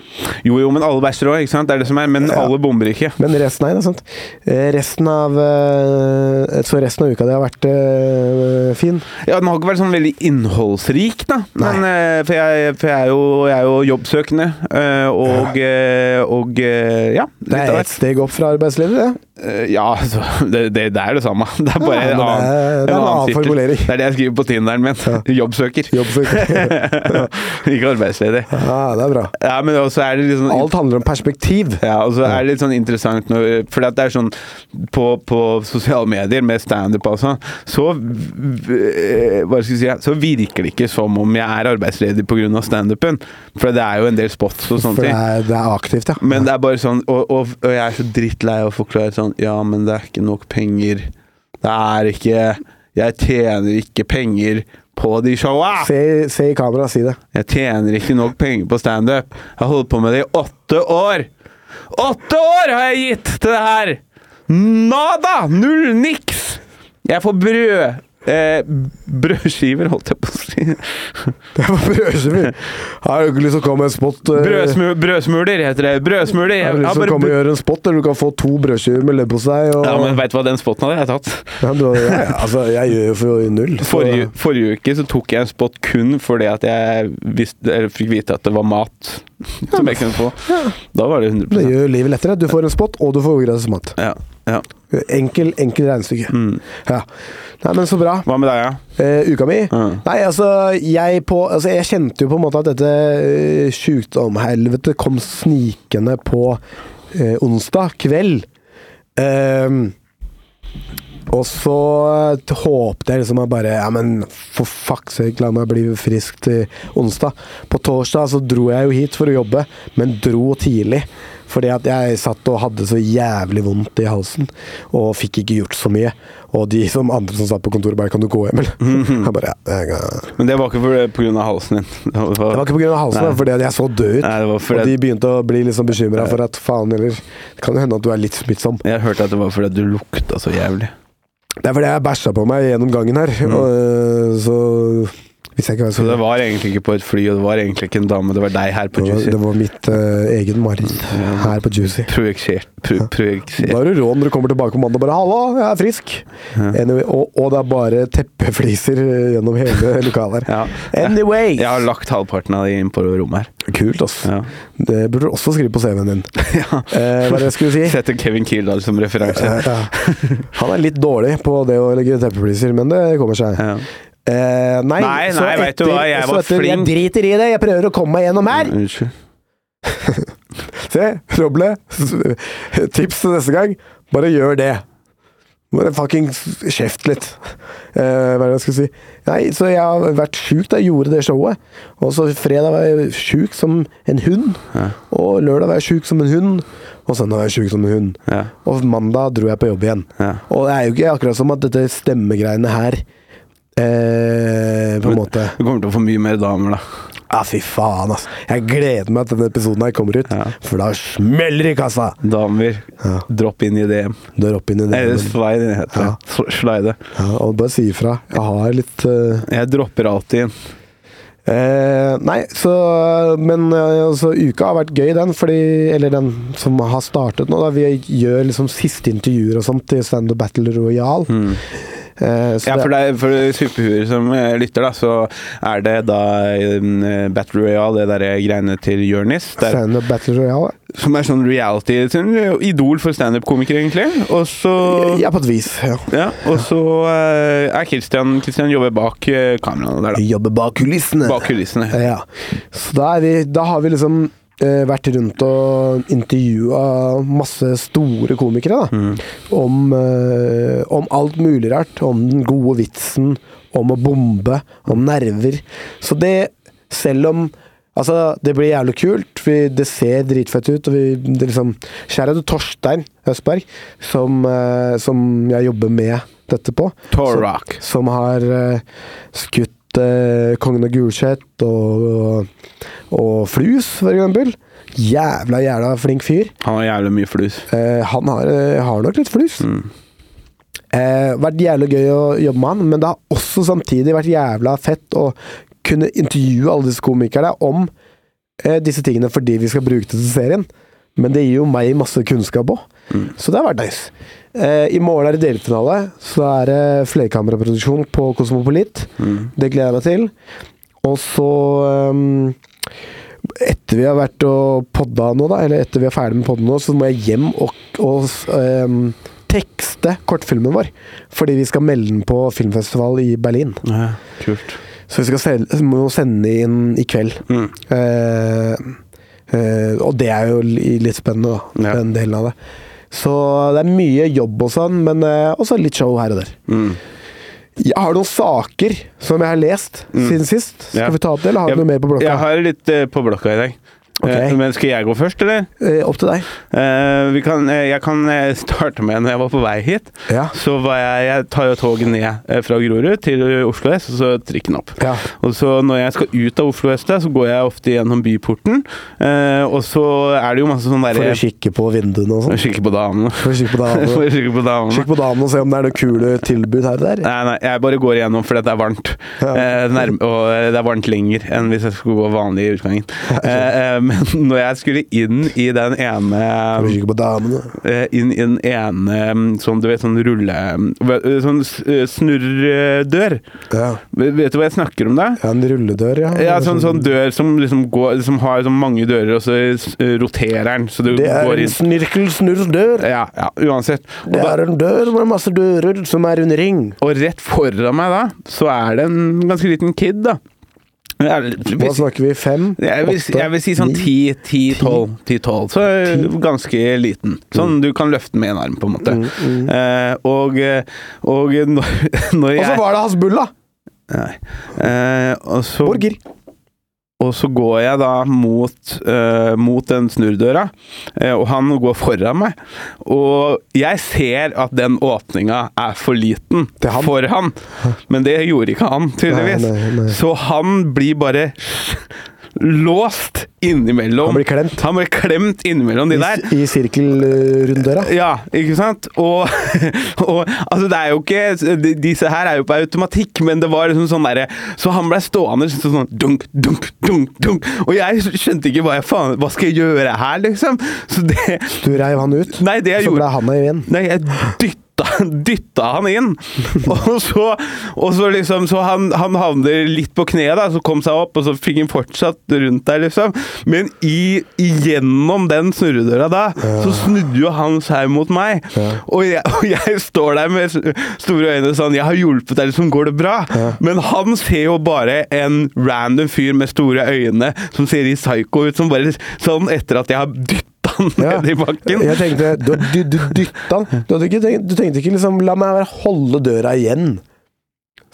Speaker 4: Jo, jo, men alle bæsjer òg, ikke sant? Det er det som er. Men alle bomber ikke.
Speaker 7: Men resten, nei, det er sant. Eh, Resten av, eh, så resten av uka det har vært eh, fin.
Speaker 4: Ja, Den har ikke vært sånn veldig innholdsrik, da. Men, eh, for jeg, for jeg, er, jo, jeg er jo jobbsøkende. eh, Og, eh, og eh, ja. litt
Speaker 7: Det
Speaker 4: av
Speaker 7: er
Speaker 4: hvert.
Speaker 7: ett steg opp fra arbeidslivet, det.
Speaker 4: Eh, Ja, altså, det, det, det er det samme. Det er bare
Speaker 7: Ja, men
Speaker 4: en
Speaker 7: det
Speaker 4: annen,
Speaker 7: er- det er en annen
Speaker 4: tittel.
Speaker 7: formulering.
Speaker 4: Det er det jeg skriver på Tinderen min. Jobbsøker.
Speaker 7: Jobbsøker.
Speaker 4: Ikke arbeidsledig.
Speaker 7: Ja, det er bra.
Speaker 4: Ja, men også er det litt sånn
Speaker 7: Alt handler om perspektiv.
Speaker 4: ja, og så er det litt sånn interessant når, For det er sånn På, på sosiale medier med standup og sånn, så v- eh, Hva skal jeg si Så virker det ikke som om jeg er arbeidsledig pga. standupen. For det er jo en del spots og sånne
Speaker 7: For det
Speaker 4: ting.
Speaker 7: er, det er aktivt, ja.
Speaker 4: Men det er bare sånn Og, og, og jeg er så drittlei av å forklare sånn Ja, men det er ikke nok penger. Det er ikke Jeg tjener ikke penger på de showa!
Speaker 7: Se, se i kamera, si det.
Speaker 4: Jeg tjener ikke nok penger på standup. Jeg har holdt på med det i åtte år. Åtte år har jeg gitt til det her! Nada! Null niks! Jeg får brød... Eh, brødskiver, holdt jeg på å si.
Speaker 7: Det var brødsmuler. Har du ikke lyst til å komme med en spot? eh,
Speaker 4: Brødsmu, brødsmuler heter det. Brødsmuler. Jeg,
Speaker 7: Har
Speaker 4: jeg
Speaker 7: du lyst
Speaker 4: har
Speaker 7: til å
Speaker 4: bare
Speaker 7: komme og
Speaker 4: br-
Speaker 7: gjøre en spot, eller du kan få to brødskiver med leverpostei? Og...
Speaker 4: ja, men Veit du hva den spotten hadde jeg tatt?
Speaker 7: Ja, du, ja, ja, altså, jeg gjør jo for null. så-
Speaker 4: Forrige, forrige uke så tok jeg en spot kun fordi at jeg visste, eller fikk vite at det var mat som jeg kunne få. Da var det
Speaker 7: Det
Speaker 4: 100
Speaker 7: gjør livet lettere. Du får en spot, og du får gratis mat.
Speaker 4: ja, ja.
Speaker 7: Enkel, enkel regnestykke. Ja. Nei, men så bra.
Speaker 4: Hva med deg, ja?
Speaker 7: Eh, uka mi?
Speaker 4: Mm.
Speaker 7: Nei, altså jeg, på, altså jeg kjente jo på en måte at dette eh, sjukdomhelvete kom snikende på eh, onsdag kveld. Ehm, og så eh, håpte jeg liksom at bare Ja, men for fuck's sake, la meg bli frisk til onsdag. På torsdag så dro jeg jo hit for å jobbe, men dro tidlig. Fordi at jeg satt og hadde så jævlig vondt i halsen, og fikk ikke gjort så mye. Og de som andre som satt på kontoret, bare 'Kan du gå hjem', eller? Jeg bare, ja, jeg kan.
Speaker 4: Men det var ikke for- på grunn av halsen din. Det var,
Speaker 7: Det var ikke pga. halsen,
Speaker 4: Nei.
Speaker 7: men fordi at jeg så død ut.
Speaker 4: Nei, det var fordi-
Speaker 7: Og de begynte å bli liksom bekymra for at faen heller Det kan jo hende at du er litt smittsom.
Speaker 4: Jeg hørte at det var fordi at du lukta så jævlig.
Speaker 7: Det er fordi jeg bæsja på meg gjennom gangen her, og, øh, så Hvis jeg ikke
Speaker 4: Mm. Så det
Speaker 7: var
Speaker 4: var egentlig ikke på et fly, og det var egentlig ikke en dame, det var deg her på
Speaker 7: det var,
Speaker 4: Juicy.
Speaker 7: det var mitt øh, egen mareritt her på Juicy.
Speaker 4: Projeksert. Pro,
Speaker 7: Da
Speaker 4: projeksert.
Speaker 7: er du rå når du kommer tilbake på mandag og bare 'halla, jeg er frisk'. Anyway, og, og det er bare teppefliser øh, gjennom hele lokalet her.
Speaker 4: Ja.
Speaker 7: Anyway!
Speaker 4: Jeg har lagt halvparten av de inn på rommet her.
Speaker 7: Kult, ass.
Speaker 4: Ja.
Speaker 7: Det burde du også skrive på CV-en din.
Speaker 4: Ja.
Speaker 7: Eh, hva er det jeg skulle si?
Speaker 4: Setter Kevin Kildahl som referanse.
Speaker 7: Ja. Han er litt dårlig på det å legge teppepliser, men det kommer seg.
Speaker 4: Ja.
Speaker 7: Eh, nei,
Speaker 4: Nei,
Speaker 7: så
Speaker 4: nei,
Speaker 7: etter,
Speaker 4: vet du hva, jeg
Speaker 7: så
Speaker 4: var
Speaker 7: etter,
Speaker 4: flink.
Speaker 7: Jeg driter i det, jeg prøver å komme meg gjennom her!
Speaker 4: Unnskyld.
Speaker 7: Se, Roble, tips til neste gang, bare gjør det. Bare fucking kjeft litt. Eh, hva er det jeg skal si? Nei, så jeg har vært sjuk da jeg gjorde det showet. Og så fredag var jeg sjuk som en hund. Og lørdag var jeg sjuk som en hund. Og søndag var jeg sjuk som en hund.
Speaker 4: Ja.
Speaker 7: Og mandag dro jeg på jobb igjen.
Speaker 4: Ja.
Speaker 7: Og det er jo ikke akkurat som at dette stemmegreiene her eh, på en måte
Speaker 4: Du kommer til å få mye mer damer, da.
Speaker 7: Ja, fy faen, altså. Jeg gleder meg til denne episoden her kommer ut,
Speaker 4: Ja.
Speaker 7: for da smeller det i kassa!
Speaker 4: Damer,
Speaker 7: Ja.
Speaker 4: dropp inn i DM.
Speaker 7: Dør opp inn i det.
Speaker 4: Eller slide, det heter
Speaker 7: Ja.
Speaker 4: det. Sl- Slide.
Speaker 7: Ja, og bare si ifra. Jeg har litt eh,
Speaker 4: Jeg dropper alltid inn.
Speaker 7: eh, Nei, så Men eh, altså, uka har vært gøy, den. Fordi, eller den som har startet nå. Da. Vi gjør liksom siste intervjuer og sånt til Stand Up Battle Royal. Eh,
Speaker 4: Mm.
Speaker 7: så
Speaker 4: Ja,
Speaker 7: det-
Speaker 4: for, det er, for superhuer som eh, lytter, da, så er det da eh, Battle Royale, det derre greiene til Jonis. der-
Speaker 7: Stand-up Battle Royale?
Speaker 4: Som er sånn reality sånn, Idol for standup-komikere, egentlig. Og så
Speaker 7: Ja, på et vis. Ja.
Speaker 4: ja, og så eh, er Christian Christian jobber bak eh, kameraene der, da.
Speaker 7: Jobbe bak kulissene.
Speaker 4: Bak kulissene.
Speaker 7: Ja. Så da, er vi, da har vi liksom eh, vært rundt og intervjua masse store komikere, da. Om, eh, om alt mulig rart. Om den gode vitsen, om å bombe, om nerver. Så det, selv om Altså, det blir jævlig kult. Vi, det ser dritfett ut. Og vi, det liksom, Kjære du Torstein Østberg, som, eh, som jeg jobber med dette på.
Speaker 4: Torrock.
Speaker 7: Som har eh, skutt eh, Kongen av Gulset og, og, og Flus, for eksempel. Jævla, jævla flink fyr.
Speaker 4: Han har jævlig mye flus.
Speaker 7: Eh, han har, eh, har nok litt flus. Eh, vært jævlig gøy å jobbe med han, men det har også samtidig vært jævla fett å kunne intervjue alle disse komikerne om eh, disse tingene fordi vi skal bruke det til serien. Men det gir jo meg masse kunnskap òg, så det har vært nice. Eh, I morgen er det delfinale, så er det flerkameraproduksjon på Kosmopolit. Det gleder jeg meg til. Og så ehm, etter vi har vært og podda nå, da, eller etter vi er ferdig med podden nå, så må jeg hjem og, og ehm, tekste kortfilmen vår. Fordi vi skal melde den på filmfestival i Berlin.
Speaker 4: Ja, kult.
Speaker 7: Så vi skal sel- må sende inn i kveld.
Speaker 4: Mm.
Speaker 7: Eh, eh, og det er jo li- litt spennende, da.
Speaker 4: Ja.
Speaker 7: Den delen av det. Så det er mye jobb og sånn, men eh, også litt show her og der.
Speaker 4: Mm.
Speaker 7: Jeg har noen saker som jeg har lest siden sist.
Speaker 4: Mm.
Speaker 7: Skal
Speaker 4: Ja.
Speaker 7: vi ta opp det, eller har
Speaker 4: Jeg-
Speaker 7: du noe mer på blokka?
Speaker 4: Jeg har litt eh, på blokka i dag.
Speaker 7: Ok.
Speaker 4: Eh, men skal jeg gå først, eller?
Speaker 7: Eh, opp til deg.
Speaker 4: Eh, vi kan, eh, jeg kan eh, starte med når jeg var på vei hit.
Speaker 7: Ja.
Speaker 4: Så var jeg, jeg tar jo toget ned eh, fra Grorud til eh, Oslo S, og så trikken opp.
Speaker 7: Ja.
Speaker 4: Og så når jeg skal ut av Oslo S, da, så går jeg ofte gjennom byporten. eh, og så er det jo masse sånn
Speaker 7: For
Speaker 4: derre
Speaker 7: å kikke på vinduene og sånn.
Speaker 4: Kikke på damene.
Speaker 7: For å kikke på
Speaker 4: For å
Speaker 7: damene.
Speaker 4: kikke på damene.
Speaker 7: Kikk på damene og se om det er noe kule tilbud her og der.
Speaker 4: Nei, nei, jeg bare går igjennom fordi det er varmt.
Speaker 7: Ja.
Speaker 4: Eh, nærm og eh, det er varmt lenger enn hvis jeg skulle gå vanlig i utgangen. Eh, eh, men når jeg skulle inn i den ene
Speaker 7: For å kikke på damene.
Speaker 4: eh, Inn i den ene mm, sånn, du vet, sånn rulle... eh, Sånn s- eh, snurredør.
Speaker 7: Ja.
Speaker 4: Vet du hva jeg snakker om da?
Speaker 7: ja, en rulledør, ja.
Speaker 4: Ja, sånn, sånn dør som liksom går Som har sånn mange dører, og så eh, roterer den, så du
Speaker 7: Det er
Speaker 4: går
Speaker 7: en
Speaker 4: inn.
Speaker 7: snirkelsnurrdør.
Speaker 4: Ja, ja, uansett. Og
Speaker 7: Det
Speaker 4: da-
Speaker 7: er en dør med masse dører som er en ring.
Speaker 4: Og rett foran meg da, så er det en ganske liten kid, da. Jeg,
Speaker 7: Hva snakker vi? Fem?
Speaker 4: jeg, vil,
Speaker 7: åtte,
Speaker 4: jeg vil si sånn
Speaker 7: ni?
Speaker 4: 10-12. Så eh, ganske liten.
Speaker 7: Mm.
Speaker 4: Sånn du kan løfte med en arm, på en måte. Eh, og, eh, og når, når
Speaker 7: Og så
Speaker 4: jeg
Speaker 7: var det Hasbulla!
Speaker 4: Nei. Eh, og, så,
Speaker 7: Borger.
Speaker 4: og så går jeg da mot, eh, mot den snurrdøra, eh, og han går foran meg. Og jeg ser at den åpninga er for liten
Speaker 7: Til han?
Speaker 4: for han, men det gjorde ikke han, tydeligvis.
Speaker 7: Nei, nei, nei.
Speaker 4: Så han blir bare låst innimellom.
Speaker 7: Han blir klemt.
Speaker 4: Han blir klemt innimellom de der.
Speaker 7: I, i sirkelrunddøra.
Speaker 4: Ja, ikke sant? Og, og altså, det er jo ikke de- Disse her er jo på automatikk, men det var liksom sånn derre Så han blei stående sånn, sånn dunk, dunk, dunk, dunk. Og jeg skjønte ikke hva jeg faen Hva skal jeg gjøre her, liksom? Så det
Speaker 7: Du reiv han ut,
Speaker 4: Nei, det jeg
Speaker 7: så
Speaker 4: gjorde
Speaker 7: ble han igjen.
Speaker 4: Nei, jeg dytta, dytta han inn. Og så, og så liksom Så han, han havner litt på kneet, da, så kom seg opp, og så fikk han fortsatt rundt der, liksom. Men i, gjennom den snurredøra da, så snudde jo han seg mot meg. Og, jeg, og jeg står der med s- store øyne sånn Jeg har hjulpet deg, liksom. Går det bra? Men han ser jo bare en random fyr med store øyne som ser i psycho ut, som bare sånn etter at jeg har dytta han
Speaker 7: Ja.
Speaker 4: ned i bakken.
Speaker 7: Jeg tenkte, du, du, du dytta han. Du, hadde ikke tenkt, du tenkte ikke liksom, la meg bare holde døra igjen.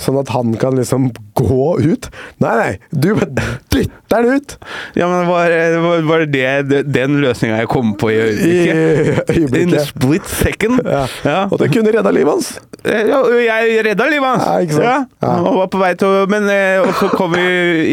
Speaker 7: Sånn at han kan liksom gå ut. Nei, nei, du bare dytter han ut.
Speaker 4: Ja, men var, var, var det det det den løsninga jeg kom på i
Speaker 7: I
Speaker 4: øyeblikket? In the
Speaker 7: øyeblikket.
Speaker 4: split second.
Speaker 7: Ja.
Speaker 4: Ja. Eh,
Speaker 7: Og det kunne redda livet hans.
Speaker 4: Ja, og jeg redda livet hans!
Speaker 7: Ja, ikke sant? Ja.
Speaker 4: Han var på vei til å Men eh, og så kom vi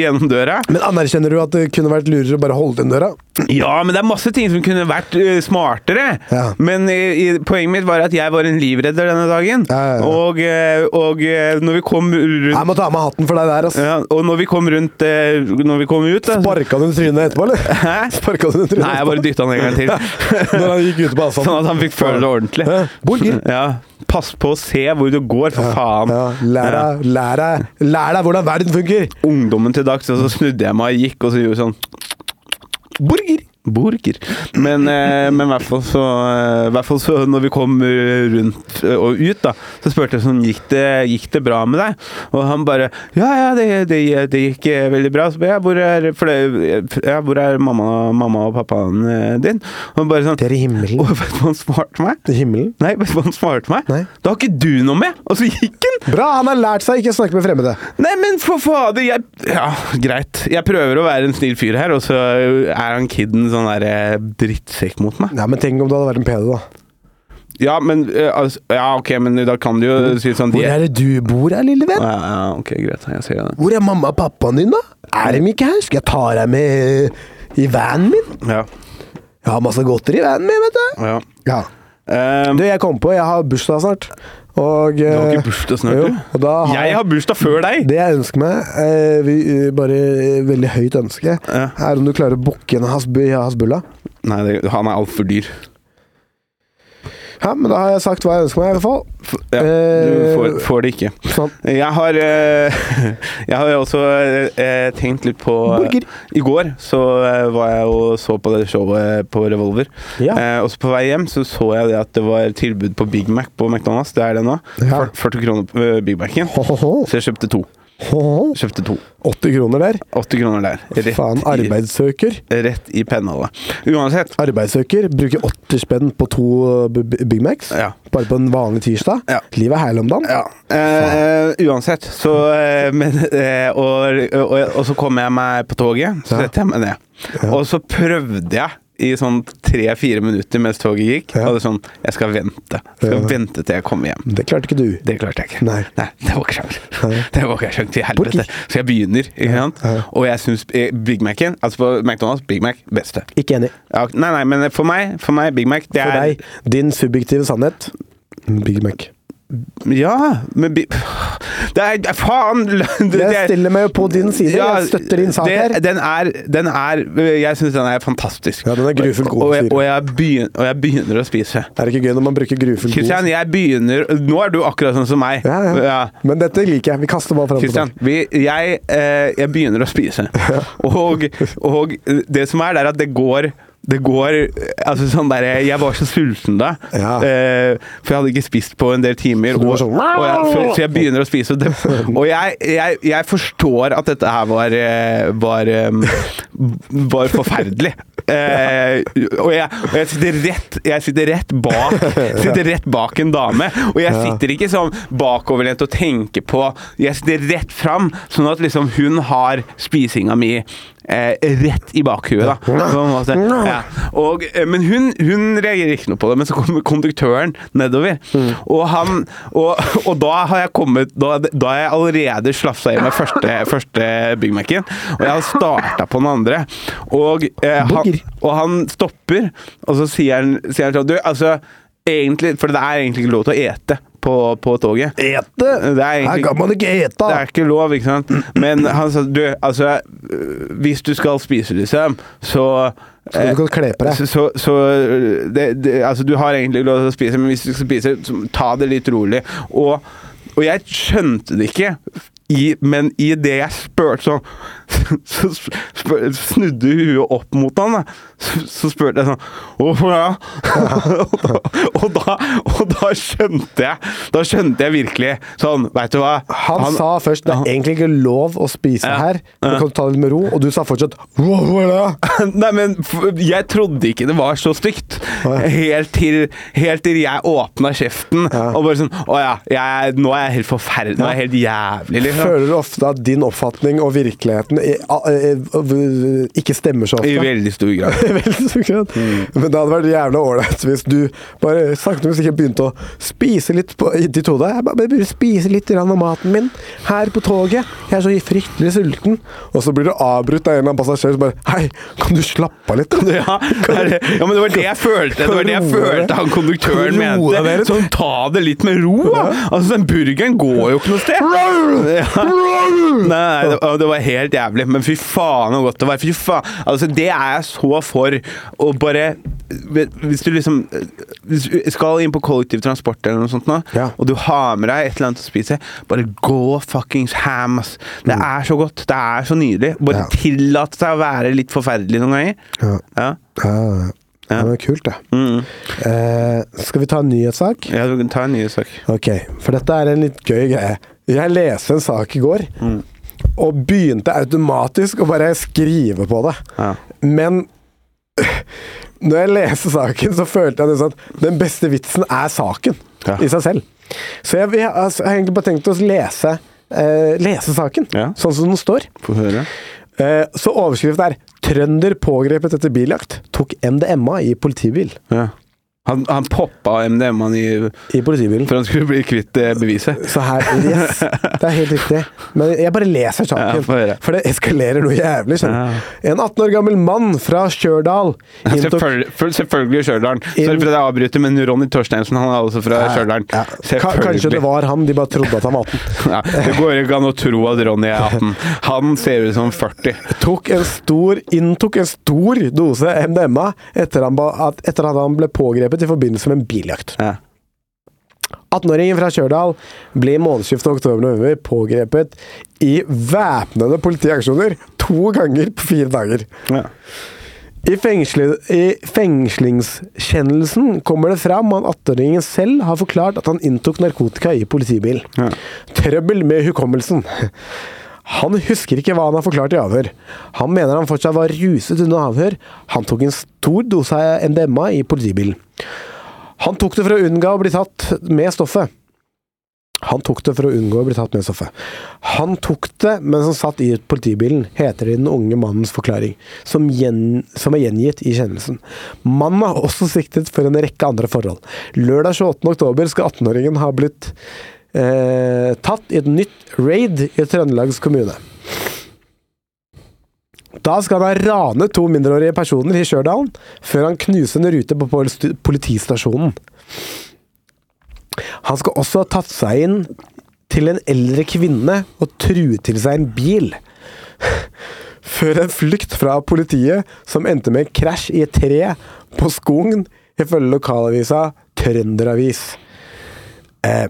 Speaker 4: gjennom døra.
Speaker 7: Men anerkjenner du at det kunne vært lurere å bare holde igjen døra?
Speaker 4: Ja, men det er masse ting som kunne vært eh, smartere.
Speaker 7: Ja.
Speaker 4: Men eh, i, poenget mitt var at jeg var en livredder denne dagen.
Speaker 7: Ja, ja, ja.
Speaker 4: Og, eh, og eh, når vi kom rundt
Speaker 7: Jeg må ta av meg hatten for deg der, ass.
Speaker 4: ja, Og når vi kom rundt eh, Når vi kom ut da, så-
Speaker 7: Sparka du trynet etterpå, eller?
Speaker 4: Hæ?
Speaker 7: Sparka du trynet
Speaker 4: Nei, jeg bare dytta han en gang til.
Speaker 7: Når han gikk ut på asfalten.
Speaker 4: Sånn at han fikk føle det ordentlig.
Speaker 7: Hæ? Borger.
Speaker 4: Ja. Pass på å se hvor du går, for faen.
Speaker 7: Ja, lær
Speaker 4: Ja.
Speaker 7: deg- lær deg lær deg hvordan verden funker!
Speaker 4: ungdommen til dags, og så snudde jeg meg og gikk, og så gjorde jeg sånn Burger! Burger. Men, eh, men i hvert fall så, eh, i hvert fall så når vi kom eh, rundt eh, og ut, da, så spurte jeg sånn gikk det, gikk det bra med deg? Og han bare Ja, ja, det, det, det gikk eh, veldig bra. Så ba jeg, hvor er, for det, ja, hvor er mamma, mamma og pappaen eh, din? Og han bare sånn
Speaker 7: Dere i himmelen.
Speaker 4: «Å, Vet du hva han svarte meg?
Speaker 7: Til himmelen.
Speaker 4: Nei, vet du hva han svarte meg?
Speaker 7: Nei.
Speaker 4: Det har ikke du noe med! Og så gikk han!
Speaker 7: Bra, han har lært seg ikke å snakke med fremmede.
Speaker 4: Nei, men for fader, jeg Ja, greit. Jeg prøver å være en snill fyr her, og så er han kidden sånn der eh, drittsekk mot meg.
Speaker 7: Nei, men tenk om du hadde vært en pedo, da.
Speaker 4: Ja, men eh, altså, Ja, ok, men da kan du jo si sånn
Speaker 7: Hvor
Speaker 4: de-
Speaker 7: er det du bor, da, lille venn?
Speaker 4: Ja, ja, ok, greit. Jeg ser det.
Speaker 7: Hvor er mamma og pappaen din, da? Er de ikke her? Skal jeg ta deg med eh, i vanen min?
Speaker 4: Ja.
Speaker 7: Jeg har masse godteri i vanen min, vet du.
Speaker 4: ja.
Speaker 7: Ja.
Speaker 4: Ehm,
Speaker 7: Du, jeg kom på, jeg har bursdag snart. Og, eh,
Speaker 4: du har ikke bursdag snart, du?
Speaker 7: og da har
Speaker 4: Jeg har bursdag før deg!
Speaker 7: Det jeg ønsker meg, eh, vi, eh, bare eh, veldig høyt ønske, er om du klarer å booke en hasb- hasbulla.
Speaker 4: Nei, det, han er altfor dyr.
Speaker 7: Ja, men da har jeg sagt hva jeg ønsker meg, i hvert fall.
Speaker 4: F- Ja,
Speaker 7: Eh,
Speaker 4: du får, får det ikke.
Speaker 7: Sånn.
Speaker 4: Jeg har, eh, jeg har jo også eh, tenkt litt på
Speaker 7: Burger.
Speaker 4: I går så eh, var jeg og så på det showet på Revolver.
Speaker 7: Ja.
Speaker 4: Eh, og så på vei hjem så så jeg det at det var tilbud på Big Mac på McDonald's. Det er det nå.
Speaker 7: Ja.
Speaker 4: Fyr- 40 kroner på eh, Big Mac-en.
Speaker 7: Ho, ho, ho.
Speaker 4: Så jeg kjøpte to.
Speaker 7: Ho, ho.
Speaker 4: Kjøpte to.
Speaker 7: 80 kroner der.
Speaker 4: 80 kroner der. Rett
Speaker 7: Faen, arbeidssøker.
Speaker 4: i, rett i pennholdet. Uansett.
Speaker 7: Arbeidssøker bruker 80 spenn på to eh, B- B- Big Macs.
Speaker 4: Ja.
Speaker 7: Bare på en vanlig tirsdag.
Speaker 4: Ja.
Speaker 7: Livet er herlig om dagen.
Speaker 4: Ja. Eh, uansett, så eh, men, eh, og, og, og så kom jeg meg på toget, så
Speaker 7: Ja.
Speaker 4: setter jeg meg ned.
Speaker 7: Ja.
Speaker 4: Og så prøvde jeg i sånn tre-fire minutter mens toget gikk.
Speaker 7: Ja.
Speaker 4: Og det er sånn Jeg skal vente. Jeg skal
Speaker 7: Ja.
Speaker 4: vente til jeg kommer hjem.
Speaker 7: Det klarte ikke du.
Speaker 4: Det klarte jeg ikke.
Speaker 7: Nei.
Speaker 4: det var ikke sjans.
Speaker 7: Nei.
Speaker 4: Det var ikke sjans til helvete.
Speaker 7: Burger.
Speaker 4: Så jeg begynner, ikke sant.
Speaker 7: Ja.
Speaker 4: Og jeg syns Big Mac-en, altså på McDonald's, Big Mac beste.
Speaker 7: Ikke enig.
Speaker 4: Ja, nei, nei, men for meg, for meg Big Mac, det
Speaker 7: For
Speaker 4: er
Speaker 7: deg, din subjektive sannhet. Big Mac.
Speaker 4: Ja, men Bi- Det er Faen! Det, det
Speaker 7: Jeg stiller meg jo på din side.
Speaker 4: Ja,
Speaker 7: jeg støtter din sak
Speaker 4: det-
Speaker 7: her.
Speaker 4: Den er, den er Jeg syns den er fantastisk.
Speaker 7: Ja, den er grufull god,
Speaker 4: Og, jeg-
Speaker 7: sier du.
Speaker 4: og, jeg begyn- og jeg begynner å spise.
Speaker 7: Er det ikke gøy når man bruker grufull
Speaker 4: Kristian, jeg begynner Nå er du akkurat sånn som meg.
Speaker 7: Ja, ja. Men dette liker jeg. Vi kaster bare fram
Speaker 4: Kristian, vi, jeg, eh, jeg begynner å spise. Og, og det som er, det er at det går det går Altså sånn der Jeg var så sulten da,
Speaker 7: Ja.
Speaker 4: eh, for jeg hadde ikke spist på en del timer.
Speaker 7: du var
Speaker 4: Og,
Speaker 7: sånn,
Speaker 4: og jeg, så, så jeg begynner å spise, og, det, og jeg, jeg, jeg forstår at dette her var eh, var, eh, var forferdelig. Eh, og jeg, og jeg, sitter rett, jeg sitter rett bak Sitter rett bak en dame, og jeg
Speaker 7: Ja.
Speaker 4: sitter ikke sånn bakoverlent og tenker på Jeg sitter rett fram, sånn at liksom hun har spisinga mi eh, rett i bakhuet. da På en måte. Ja. Og, eh, men hun, hun reagerer ikke noe på det. Men så kommer konduktøren nedover. Og, han, og, og da har jeg kommet Da, da har jeg allerede slafsa i meg første, første Big Mac-en. Og jeg har starta på den andre. Og, eh, han,
Speaker 7: Burger.
Speaker 4: og han stopper, og så sier han, sier han sånn Du, altså egentlig, For det er egentlig ikke lov til å ete på, på toget.
Speaker 7: Ete!
Speaker 4: Det er
Speaker 7: Her
Speaker 4: egentlig
Speaker 7: kan man ikke ete!
Speaker 4: det er ikke lov, ikke sant? Men han sa du, altså øh, Hvis du skal spise, liksom, så
Speaker 7: Skal du ikke kle på deg?
Speaker 4: Så, så, så øh, det, det, altså, du har egentlig lov til å spise, men hvis du skal spise, så ta det litt rolig. Og, og jeg skjønte det ikke, i, men i det jeg spurte sånn Så sp- sp- snudde huet opp mot han, da. Så, så spurte jeg sånn Hvorfor da? og, da, og, da, og da skjønte jeg Da skjønte jeg virkelig sånn Veit du hva?
Speaker 7: Han, sa først det er
Speaker 4: han-
Speaker 7: egentlig ikke lov å spise
Speaker 4: Ja.
Speaker 7: her, men kan du ta det litt med ro? Og du sa fortsatt «Hva var det?»
Speaker 4: Nei, men f- jeg trodde ikke det var så stygt.
Speaker 7: Å, ja.
Speaker 4: Helt til, helt til jeg åpna kjeften
Speaker 7: Ja.
Speaker 4: og bare sånn Å ja, jeg, nå er jeg helt forferdelig. Nå er jeg helt jævlig, liksom.
Speaker 7: Føler du ofte at din oppfatning og virkeligheten i- a- eh, v- ikke stemmer så
Speaker 4: I Mm.
Speaker 7: ofte?
Speaker 4: veldig stor grad.
Speaker 7: Veldig så greit. Men det hadde vært jævla ålreit hvis du bare sakte, men sikkert begynte å spise litt på, i ditt hode. Jeg bare bare begynner å spise litt grann av maten min her på toget. Jeg er så fryktelig sulten. Og så blir du avbrutt av en eller annen passasjer som bare Hei, kan du slappe av litt? Kan
Speaker 4: Ja, er det- ja, men det var det jeg følte Det var det jeg
Speaker 7: Kan du roe deg?
Speaker 4: følte han konduktøren
Speaker 7: Kan du roe deg
Speaker 4: mente.
Speaker 7: litt?
Speaker 4: Sånn, ta det litt med ro, da. Altså, den burgeren går jo ikke noe sted. Ja. Nei, det, og det var helt jævlig, men fy faen så godt det var. Fy faen. Altså, det er jeg så for. Og bare Hvis du liksom hvis du skal inn på kollektivtransport eller noe sånt nå,
Speaker 7: Ja.
Speaker 4: og du har med deg et eller annet å spise, bare gå fuckings ham, ass. Det er så godt. Det er så nydelig. Bare
Speaker 7: Mm. Ja.
Speaker 4: tillat seg å være litt forferdelig noen ganger.
Speaker 7: Ja.
Speaker 4: Ja.
Speaker 7: Ja, ja. ja. Det var kult, det.
Speaker 4: Mm.
Speaker 7: Eh, skal vi ta en nyhetssak?
Speaker 4: Ja, du kan ta en ny sak.
Speaker 7: Ok, for dette er en litt gøy greie. Jeg leste en sak i går, og begynte automatisk å bare skrive på det.
Speaker 4: Ja.
Speaker 7: Men når jeg leste saken, så følte jeg nesten at den beste vitsen er saken
Speaker 4: Ja.
Speaker 7: i seg selv. Så jeg, vil- altså, jeg har egentlig bare tenkt å lese, eh, lese saken,
Speaker 4: Ja.
Speaker 7: sånn som den står.
Speaker 4: Få høre.
Speaker 7: Eh, så overskriften er 'Trønder pågrepet etter biljakt. Tok MDMA i politibil'.
Speaker 4: Ja. Han, han poppa MDMA-en i
Speaker 7: I politibilen.
Speaker 4: for han skulle bli kvitt eh, beviset.
Speaker 7: Så her, yes, det er helt riktig. Men jeg bare leser
Speaker 4: Ja,
Speaker 7: saken,
Speaker 4: få høre.
Speaker 7: for det eskalerer noe jævlig. skjønner du. En 18 år gammel mann fra Stjørdal inntok
Speaker 4: Selvfølgelig, full- selvfølgelig Stjørdalen. Sorry
Speaker 7: Inn-
Speaker 4: for at jeg avbryter, men Ronny Torsteinsen han er også fra Stjørdalen.
Speaker 7: Ja. Ka-
Speaker 4: Selvfølgelig.
Speaker 7: Kanskje det var han, de bare trodde at han var 18.
Speaker 4: ja, Det går ikke an å tro at Ronny er 18. Han ser ut som 40.
Speaker 7: Tok en stor, inntok en stor dose MDMA etter, han ba, at, etter at han ble pågrepet i forbindelse med en biljakt.
Speaker 4: Ja.
Speaker 7: 18-åringen fra Stjørdal ble i månedsskiftet oktober-november pågrepet i væpnede politiaksjoner to ganger på fire dager.
Speaker 4: Ja.
Speaker 7: I, fengsli, I fengslingskjennelsen kommer det fram at 18-åringen selv har forklart at han inntok narkotika i politibil.
Speaker 4: Ja.
Speaker 7: Trøbbel med hukommelsen. Han husker ikke hva han har forklart i avhør. Han mener han fortsatt var ruset under avhør. Han tok en stor dose av MDMA i politibil. Han tok det for å unngå å bli tatt med stoffet. Han tok det for å unngå å bli tatt med stoffet. Han tok det mens han satt i politibilen, heter det i den unge mannens forklaring, som, gjen, som er gjengitt i kjennelsen. Mannen er også siktet for en rekke andre forhold. Lørdag 28. oktober skal 18-åringen ha blitt eh, tatt i et nytt raid i Trøndelags kommune. Da skal han ha ranet to mindreårige personer i Stjørdal, før han knuser en rute på politi- politistasjonen. Han skal også ha tatt seg inn til en eldre kvinne og truet til seg en bil. Før en flukt fra politiet som endte med en krasj i et tre på Skogen, ifølge lokalavisa Trønderavis. Eh,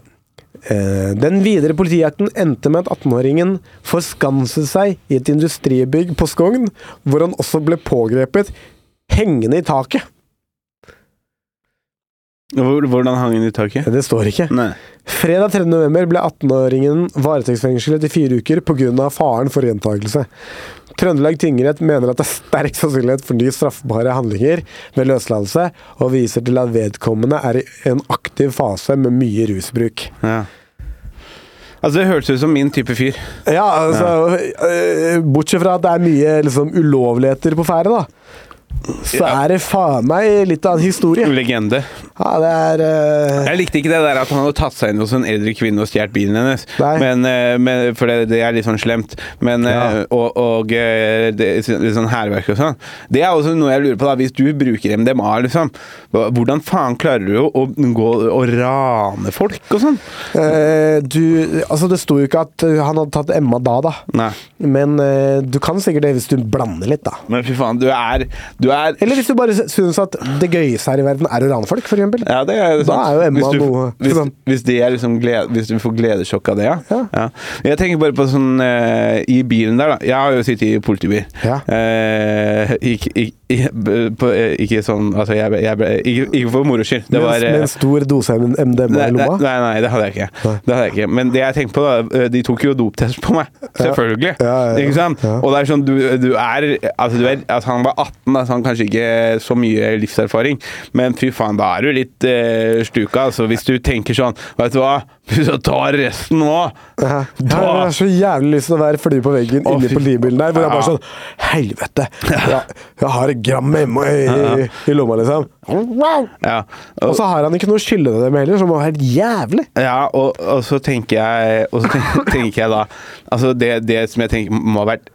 Speaker 7: eh, den videre politijakten endte med at 18-åringen forskanset seg i et industribygg på Skogn, hvor han også ble pågrepet hengende i taket.
Speaker 4: Hvor- Hvordan hang han i taket?
Speaker 7: Eh, Det står ikke.
Speaker 4: Nei.
Speaker 7: Fredag 3. november ble 18-åringen varetektsfengslet i fire uker pga. faren for gjentakelse. Trøndelag tingrett mener at det er sterk sannsynlighet for nye straffbare handlinger ved løslatelse, og viser til at vedkommende er i en aktiv fase med mye rusbruk.
Speaker 4: Ja. Altså, det hørtes ut som min type fyr.
Speaker 7: Ja, altså øh, Bortsett fra at det er mye liksom, ulovligheter på ferde, da. Så
Speaker 4: Ja.
Speaker 7: er det faen meg litt av en historie.
Speaker 4: Legende.
Speaker 7: Ja, det er øh,
Speaker 4: Jeg likte ikke det der at han hadde tatt seg inn hos en eldre kvinne og stjålet bilen hennes.
Speaker 7: Nei.
Speaker 4: Men, eh, men, for det, det er litt sånn slemt. Men, eh, Og, og eh, det, litt sånn hærverk og sånn. Det er også noe jeg lurer på, da. Hvis du bruker MDMA, liksom. hva- Hvordan faen klarer du å gå og rane folk og sånn?
Speaker 7: øh, Du Altså, det sto jo ikke at øh, han hadde tatt Emma da, da.
Speaker 4: Nei.
Speaker 7: Men eh, du kan sikkert det hvis du blander litt, da.
Speaker 4: Men fy faen, du er, du er
Speaker 7: Eller hvis du bare syns at det gøyeste her i verden er å rane folk, f.eks.
Speaker 4: Ja, det er sant.
Speaker 7: Da er jo Emma
Speaker 4: hvis du,
Speaker 7: noe-
Speaker 4: hvis,
Speaker 7: sånn.
Speaker 4: hvis, det er liksom glede, hvis du får gledessjokk av det, ja.
Speaker 7: Ja.
Speaker 4: Jeg tenker bare på sånn eh, I bilen der, da. Jeg har jo sittet i politibil.
Speaker 7: Ja.
Speaker 4: Eh, ikke, ikke, ikke- på, eh, ikke sånn Altså, jeg, ble- jeg ble Ikke, ikke for moro skyld. Det
Speaker 7: Med,
Speaker 4: var eh,
Speaker 7: med en stor dose MDMA
Speaker 4: Nei, nei,
Speaker 7: i lomma.
Speaker 4: nei, nei, det hadde jeg ikke.
Speaker 7: Nei.
Speaker 4: Det hadde jeg ikke. Men det jeg tenkte på, da eh, De tok jo doptest på meg. Selvfølgelig.
Speaker 7: Ja, ja, ja.
Speaker 4: Ikke sant?
Speaker 7: Ja.
Speaker 4: Og det er sånn, du, du er Altså, du er, altså han var 18, da, så han kanskje ikke så mye livserfaring, men fy faen, da er du litt eh, stuka. Altså, hvis du tenker sånn Vet du hva, hvis du tar resten nå
Speaker 7: Ja. Jeg
Speaker 4: Da-
Speaker 7: har så jævlig lyst til å være flue på veggen
Speaker 4: Å,
Speaker 7: inni
Speaker 4: fy-
Speaker 7: politibilen der, hvor jeg bare
Speaker 4: Ja.
Speaker 7: sånn Helvete! Jeg, jeg har et gram MDMA i, E i, i lomma, liksom.
Speaker 4: Ja.
Speaker 7: Og så har han ikke noe å skylde dem heller, som var helt jævlig.
Speaker 4: Ja, og, og så tenker jeg Og så tenker, tenker jeg da Altså det, det som jeg tenker må ha vært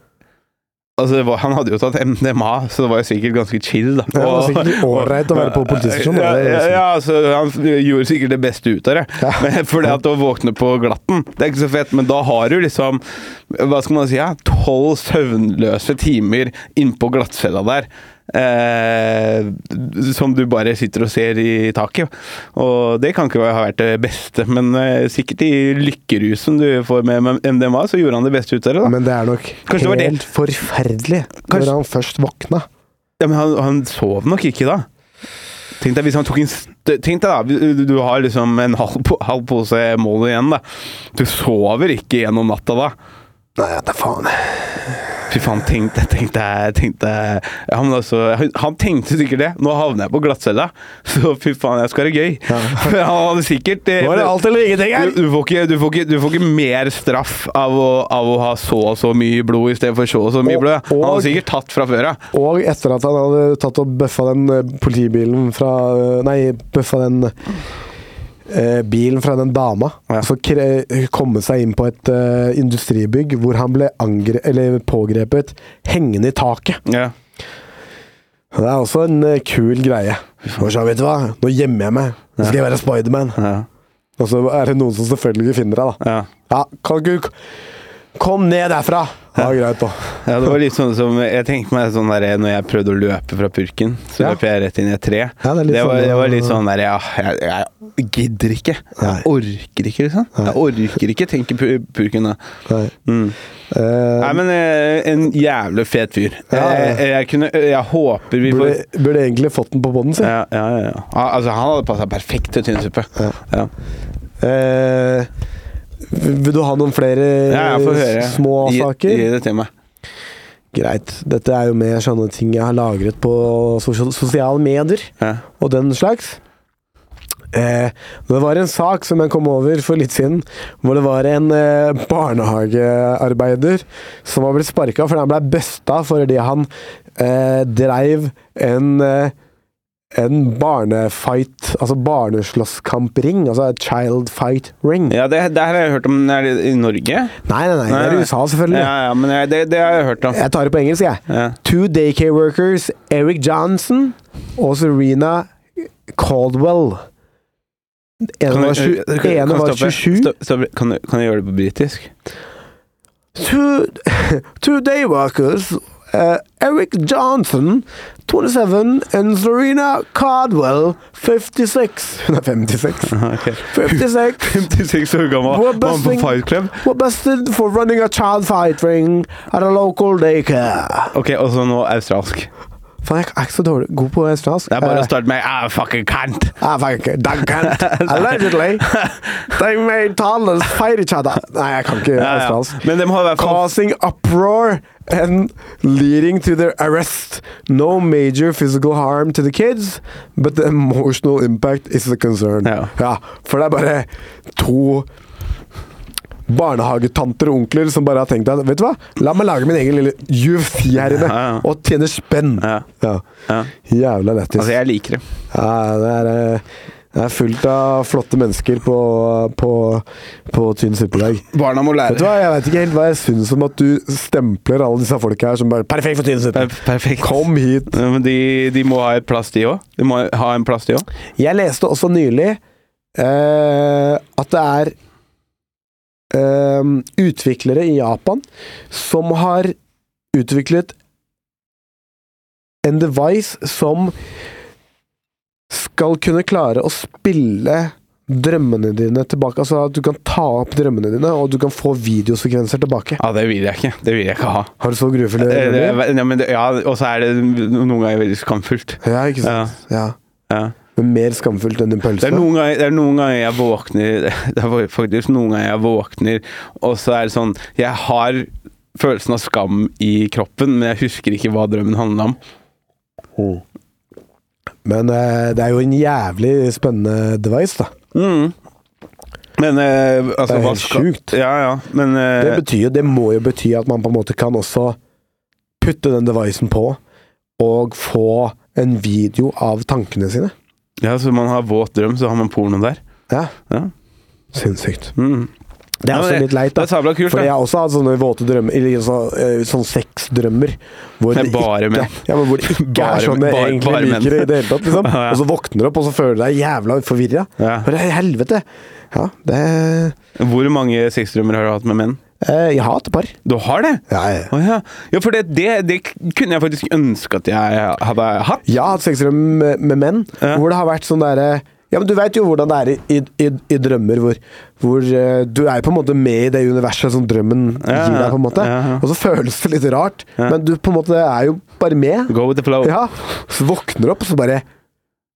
Speaker 4: Altså, det var, han hadde jo tatt MDMA, så det var jo sikkert ganske chill, da.
Speaker 7: det var
Speaker 4: Og-
Speaker 7: sikkert ålreit å være på politistasjonen,
Speaker 4: Ja,
Speaker 7: det er det
Speaker 4: ja,
Speaker 7: liksom.
Speaker 4: ja, altså, han f- gjorde sikkert det beste ut av det.
Speaker 7: Ja.
Speaker 4: Men Fordi at å våkne på glatten, det er ikke så fett, men da har du liksom Hva skal man si? Ja, tolv søvnløse timer innpå glattcella der. Eh, som du bare sitter og ser i taket. Og det kan ikke ha vært det beste, men eh, sikkert i lykkerusen du får med MDMA, så gjorde han det beste ut av det. da.
Speaker 7: Men det er nok
Speaker 4: Kanskje det var
Speaker 7: helt
Speaker 4: det.
Speaker 7: forferdelig
Speaker 4: Kanskje-
Speaker 7: når han først våkna.
Speaker 4: Ja, men han, han sov nok ikke da. Tenk deg hvis han tok en stø- Tenk deg da, du, du har liksom en halv, po halv pose Molo igjen, da. Du sover ikke gjennom natta da.
Speaker 7: Nei, da faen.
Speaker 4: Fy faen, tenk deg, tenk deg, tenk deg. Ja, men altså, han, han tenkte sikkert det. Nå havner jeg på glattcella, så fy faen, jeg skal ha det gøy. For han hadde sikkert eh,
Speaker 7: Nå er det alt eller ingenting her!
Speaker 4: du, du, får ikke, du, får ikke, du får ikke mer straff av å, av å ha så og så mye blod istedenfor så og så mye
Speaker 7: Og-
Speaker 4: blod. Han
Speaker 7: og-
Speaker 4: hadde sikkert tatt fra før av.
Speaker 7: Og etter at han hadde tatt og bøffa den eh, politibilen fra eh, Nei, bøffa den eh, bilen fra den dama.
Speaker 4: Ja.
Speaker 7: Så kre komme seg inn på et eh, industribygg hvor han ble angre eller pågrepet hengende i taket.
Speaker 4: Ja.
Speaker 7: Det er også en eh, kul greie. Og så, vet du hva? Nå gjemmer jeg meg. Nå skal jeg være Spiderman.
Speaker 4: Ja.
Speaker 7: Og så er det noen som selvfølgelig ikke finner deg, da.
Speaker 4: ja.
Speaker 7: Ja, kan ikke du Kom ned derfra! Ja, greit, da.
Speaker 4: Ja, det var litt sånn som Jeg tenkte meg sånn der når jeg prøvde å løpe fra purken, så
Speaker 7: Ja.
Speaker 4: løp jeg rett inn i et tre.
Speaker 7: Ja, det er
Speaker 4: det,
Speaker 7: litt
Speaker 4: var,
Speaker 7: sånn-
Speaker 4: det var litt sånn der Ja, jeg, jeg gidder ikke.
Speaker 7: Nei.
Speaker 4: Jeg orker ikke, liksom. Jeg orker ikke, tenker pu- purken da.
Speaker 7: Nei.
Speaker 4: Mm.
Speaker 7: Eh,
Speaker 4: Nei, men eh, en jævlig fet fyr.
Speaker 7: Ja, ja.
Speaker 4: Eh, Jeg, kunne Jeg håper vi får
Speaker 7: burde, burde egentlig fått den på bånden, si.
Speaker 4: ja, ja, ja, ja. Ah, Altså, han hadde passa perfekt til tynnsuppe.
Speaker 7: Ja.
Speaker 4: Ja.
Speaker 7: Eh, vil du ha noen flere
Speaker 4: Ja, jeg får høre.
Speaker 7: s- Eh, små
Speaker 4: gi,
Speaker 7: saker?
Speaker 4: Gi det til meg.
Speaker 7: Greit. Dette er jo med sånne ting jeg har lagret på sosial- sosiale medier
Speaker 4: Ja.
Speaker 7: og den slags. Eh, det var en sak som jeg kom over for litt siden, hvor det var en eh, barnehagearbeider som var blitt sparka fordi han ble busta fordi han eh, dreiv en eh, en barnefight, altså barneslåsskampring, altså child fight ring.
Speaker 4: ja, det, det her har jeg hørt om er det i Norge.
Speaker 7: Nei, nei, nei, det er i USA selvfølgelig.
Speaker 4: Ja, ja, men jeg, det, det har jeg hørt om.
Speaker 7: Jeg tar det på engelsk, jeg.
Speaker 4: Ja.
Speaker 7: Two daycare workers, Eric Johnson og Serena Caldwell.
Speaker 4: Kan
Speaker 7: En
Speaker 4: du-
Speaker 7: var, sju,
Speaker 4: kan- kan-
Speaker 7: ene
Speaker 4: kan
Speaker 7: var
Speaker 4: stoppe?
Speaker 7: 27.
Speaker 4: Stopp- stopp. Kan du- kan du gjøre det på britisk?
Speaker 7: Two, two day workers, eh, Eric Johnson, 27, and Serena Caldwell, 56. Hun er 56. 56.
Speaker 4: 56 år gammel,
Speaker 7: We're busting-
Speaker 4: Club.
Speaker 7: Were busted for running a child fight ring at a local daycare.
Speaker 4: Ok, og så nå australsk.
Speaker 7: Faen, jeg er ikke så dårlig god på australsk.
Speaker 4: Det er bare
Speaker 7: Eh,
Speaker 4: å starte med ah, fucking cunt.
Speaker 7: Ah, fuck, Doug Kent. Allegedly. They made toddlers fight each other. Nei, jeg kan ikke
Speaker 4: Ja, ja.
Speaker 7: australsk.
Speaker 4: Men de har i hvert fall
Speaker 7: Causing uproar and leading to their arrest. No major physical harm to the kids, but the emotional impact is a concern.
Speaker 4: Ja.
Speaker 7: for det er bare to barnehagetanter og onkler som bare har tenkt at Vet du hva, la meg lage min egen lille UFC her inne
Speaker 4: Ja, ja.
Speaker 7: og tjene spenn.
Speaker 4: Ja.
Speaker 7: Ja.
Speaker 4: ja.
Speaker 7: Jævla lættis.
Speaker 4: Altså, jeg liker det.
Speaker 7: Ja, det er, eh, det er fullt av flotte mennesker på, på, på Tynn suppedag.
Speaker 4: Barna må
Speaker 7: Vet du hva, Jeg vet ikke helt hva jeg syns om at du stempler alle disse folka her som bare 'Perfekt for tynn suppe'.
Speaker 4: Perfekt.
Speaker 7: Kom hit!
Speaker 4: Ja, Men de, de må ha et plass, de òg. De må ha en plass, de òg.
Speaker 7: Jeg leste også nylig eh, at det er eh, utviklere i Japan som har utviklet en device som skal kunne klare å spille drømmene dine tilbake. Altså at du kan ta opp drømmene dine, og du kan få videosekvenser tilbake.
Speaker 4: Ja, Ah, det vil jeg ikke. Det vil jeg ikke ha.
Speaker 7: Har du så grufulle
Speaker 4: Eh, Det-
Speaker 7: drømmer?
Speaker 4: det- Ja, men det- ja, og så er det noen ganger veldig skamfullt.
Speaker 7: Ja, ikke
Speaker 4: Ja,
Speaker 7: sant? Ja.
Speaker 4: ja.
Speaker 7: Men mer skamfullt enn en
Speaker 4: Det
Speaker 7: pølse?
Speaker 4: er, noen ganger, det er noen ganger jeg våkner Det er faktisk noen ganger jeg våkner, og så er det sånn Jeg har følelsen av skam i kroppen, men jeg husker ikke hva drømmen handla om.
Speaker 7: Men eh, det er jo en jævlig spennende device, da.
Speaker 4: Mm. Men eh, altså,
Speaker 7: Det er
Speaker 4: hva
Speaker 7: helt
Speaker 4: skal-
Speaker 7: sjukt.
Speaker 4: Ja, ja. Men eh,
Speaker 7: Det, betyr, jo- det må jo bety at man på en måte kan også putte den devicen på og få en video av tankene sine.
Speaker 4: ja, så man har våt drøm, så har man porno der.
Speaker 7: Ja,
Speaker 4: Ja.
Speaker 7: sinnssykt.
Speaker 4: Mm.
Speaker 7: Det er
Speaker 4: Ja, men
Speaker 7: også
Speaker 4: det-
Speaker 7: litt leit, da.
Speaker 4: det er sabla kult, da.
Speaker 7: Fordi jeg har også hatt sånne våte drømmer, eller sånn, eh, sånn sexdrømmer. Hvor
Speaker 4: Det er
Speaker 7: det
Speaker 4: bare
Speaker 7: ikke,
Speaker 4: menn.
Speaker 7: Ja, men hvor det ikke
Speaker 4: Bare-
Speaker 7: er sånn jeg
Speaker 4: bare-
Speaker 7: egentlig
Speaker 4: bare menn.
Speaker 7: liker det i det hele tatt. Liksom.
Speaker 4: Ja, ja.
Speaker 7: Og så våkner du opp, og så føler du deg jævla forvirra.
Speaker 4: Ja.
Speaker 7: For i helvete! Ja, det
Speaker 4: Hvor mange sexdrømmer har du hatt med menn?
Speaker 7: eh, Jeg har hatt et par.
Speaker 4: Du har det?
Speaker 7: Ja, ja.
Speaker 4: Å ja. ja, for det, det, det kunne jeg faktisk ønske at jeg hadde hatt.
Speaker 7: Jeg har hatt sexdrøm med, med menn,
Speaker 4: Ja.
Speaker 7: hvor det har vært sånn derre ja, men Du veit jo hvordan det er i, i, i, i drømmer, hvor, hvor eh, du er jo på en måte med i det universet som drømmen
Speaker 4: Ja,
Speaker 7: gir deg, på en måte.
Speaker 4: ja, ja.
Speaker 7: Og så føles det litt rart, men du på en måte er jo bare med.
Speaker 4: Go with the flow.
Speaker 7: Ja, Så våkner du opp, og så bare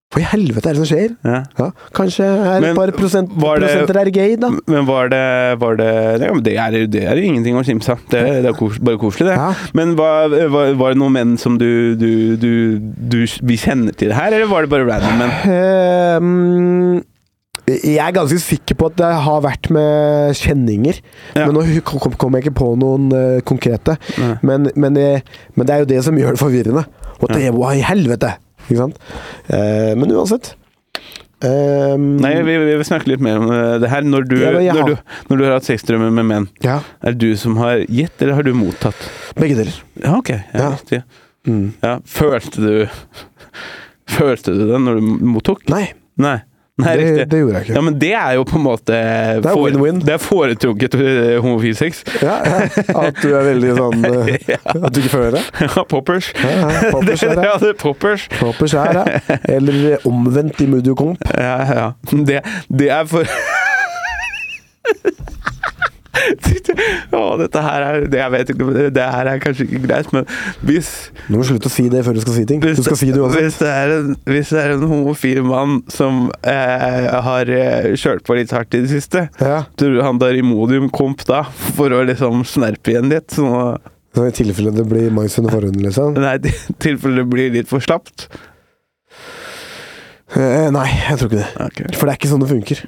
Speaker 7: Hva i helvete er det som skjer?
Speaker 4: Ja.
Speaker 7: Ja, kanskje er
Speaker 4: Men
Speaker 7: et par prosent,
Speaker 4: var det-
Speaker 7: prosenter er gay, da.
Speaker 4: Men var det, var det, ja, men det, er, det er jo ingenting å kimse av. Det, det er kos, bare koselig, det.
Speaker 7: Ja.
Speaker 4: Men var, var, var det noen menn som du, du, du, du Vi kjenner til det her, eller var det bare random menn?
Speaker 7: Ehm, jeg er ganske sikker på at det har vært med kjenninger.
Speaker 4: Ja.
Speaker 7: Men nå hu- kom- kom- kommer jeg ikke på noen eh, konkrete.
Speaker 4: Nei.
Speaker 7: Men, men, eh, men det er jo det som gjør det forvirrende. Og det er hva i helvete! Ikke sant? Eh, men uansett. Ehm,
Speaker 4: Nei, vi, vi vil snakke litt mer om eh, det her. Når du,
Speaker 7: Ja, men jeg har-
Speaker 4: når du, når du har hatt sexdrømmer med menn,
Speaker 7: Ja,
Speaker 4: er det du som har gitt, eller har du mottatt?
Speaker 7: begge deler.
Speaker 4: Ja, ok. Ja,
Speaker 7: Ja.
Speaker 4: Riktig.
Speaker 7: Mm.
Speaker 4: Ja, følte du Følte du det når du mottok?
Speaker 7: Nei,
Speaker 4: Nei. Nei,
Speaker 7: det,
Speaker 4: riktig.
Speaker 7: det gjorde jeg ikke.
Speaker 4: Ja, men det er jo på en måte Det
Speaker 7: er win-win.
Speaker 4: Det er foretrukket eh, homofil sex.
Speaker 7: Ja, ja. At du er veldig sånn eh, At du ikke føler det?
Speaker 4: Ja, poppers.
Speaker 7: Ja, ja. Poppers
Speaker 4: det,
Speaker 7: er det.
Speaker 4: ja, det er poppers.
Speaker 7: Poppers er det. Eller omvendt i Mudiokomp.
Speaker 4: Ja, ja. Det, det er for Å, dette her er det, Jeg vet ikke Det her er kanskje ikke greit, men hvis
Speaker 7: Du må slutte å si det før du skal si ting.
Speaker 4: hvis,
Speaker 7: Du skal si det uansett.
Speaker 4: hvis, det er en, hvis det er en homofil mann som eh, har eh, kjørt på litt hardt i det siste
Speaker 7: Ja.
Speaker 4: Tror du han tar Imodium Komp da, for å liksom snerpe igjen litt? Sånn, at-
Speaker 7: Så I tilfelle det blir mangs under forhuden, liksom?
Speaker 4: nei, i tilfelle det blir litt for slapt?
Speaker 7: Eh, nei, jeg tror ikke det.
Speaker 4: Ok.
Speaker 7: For det er ikke sånn det funker.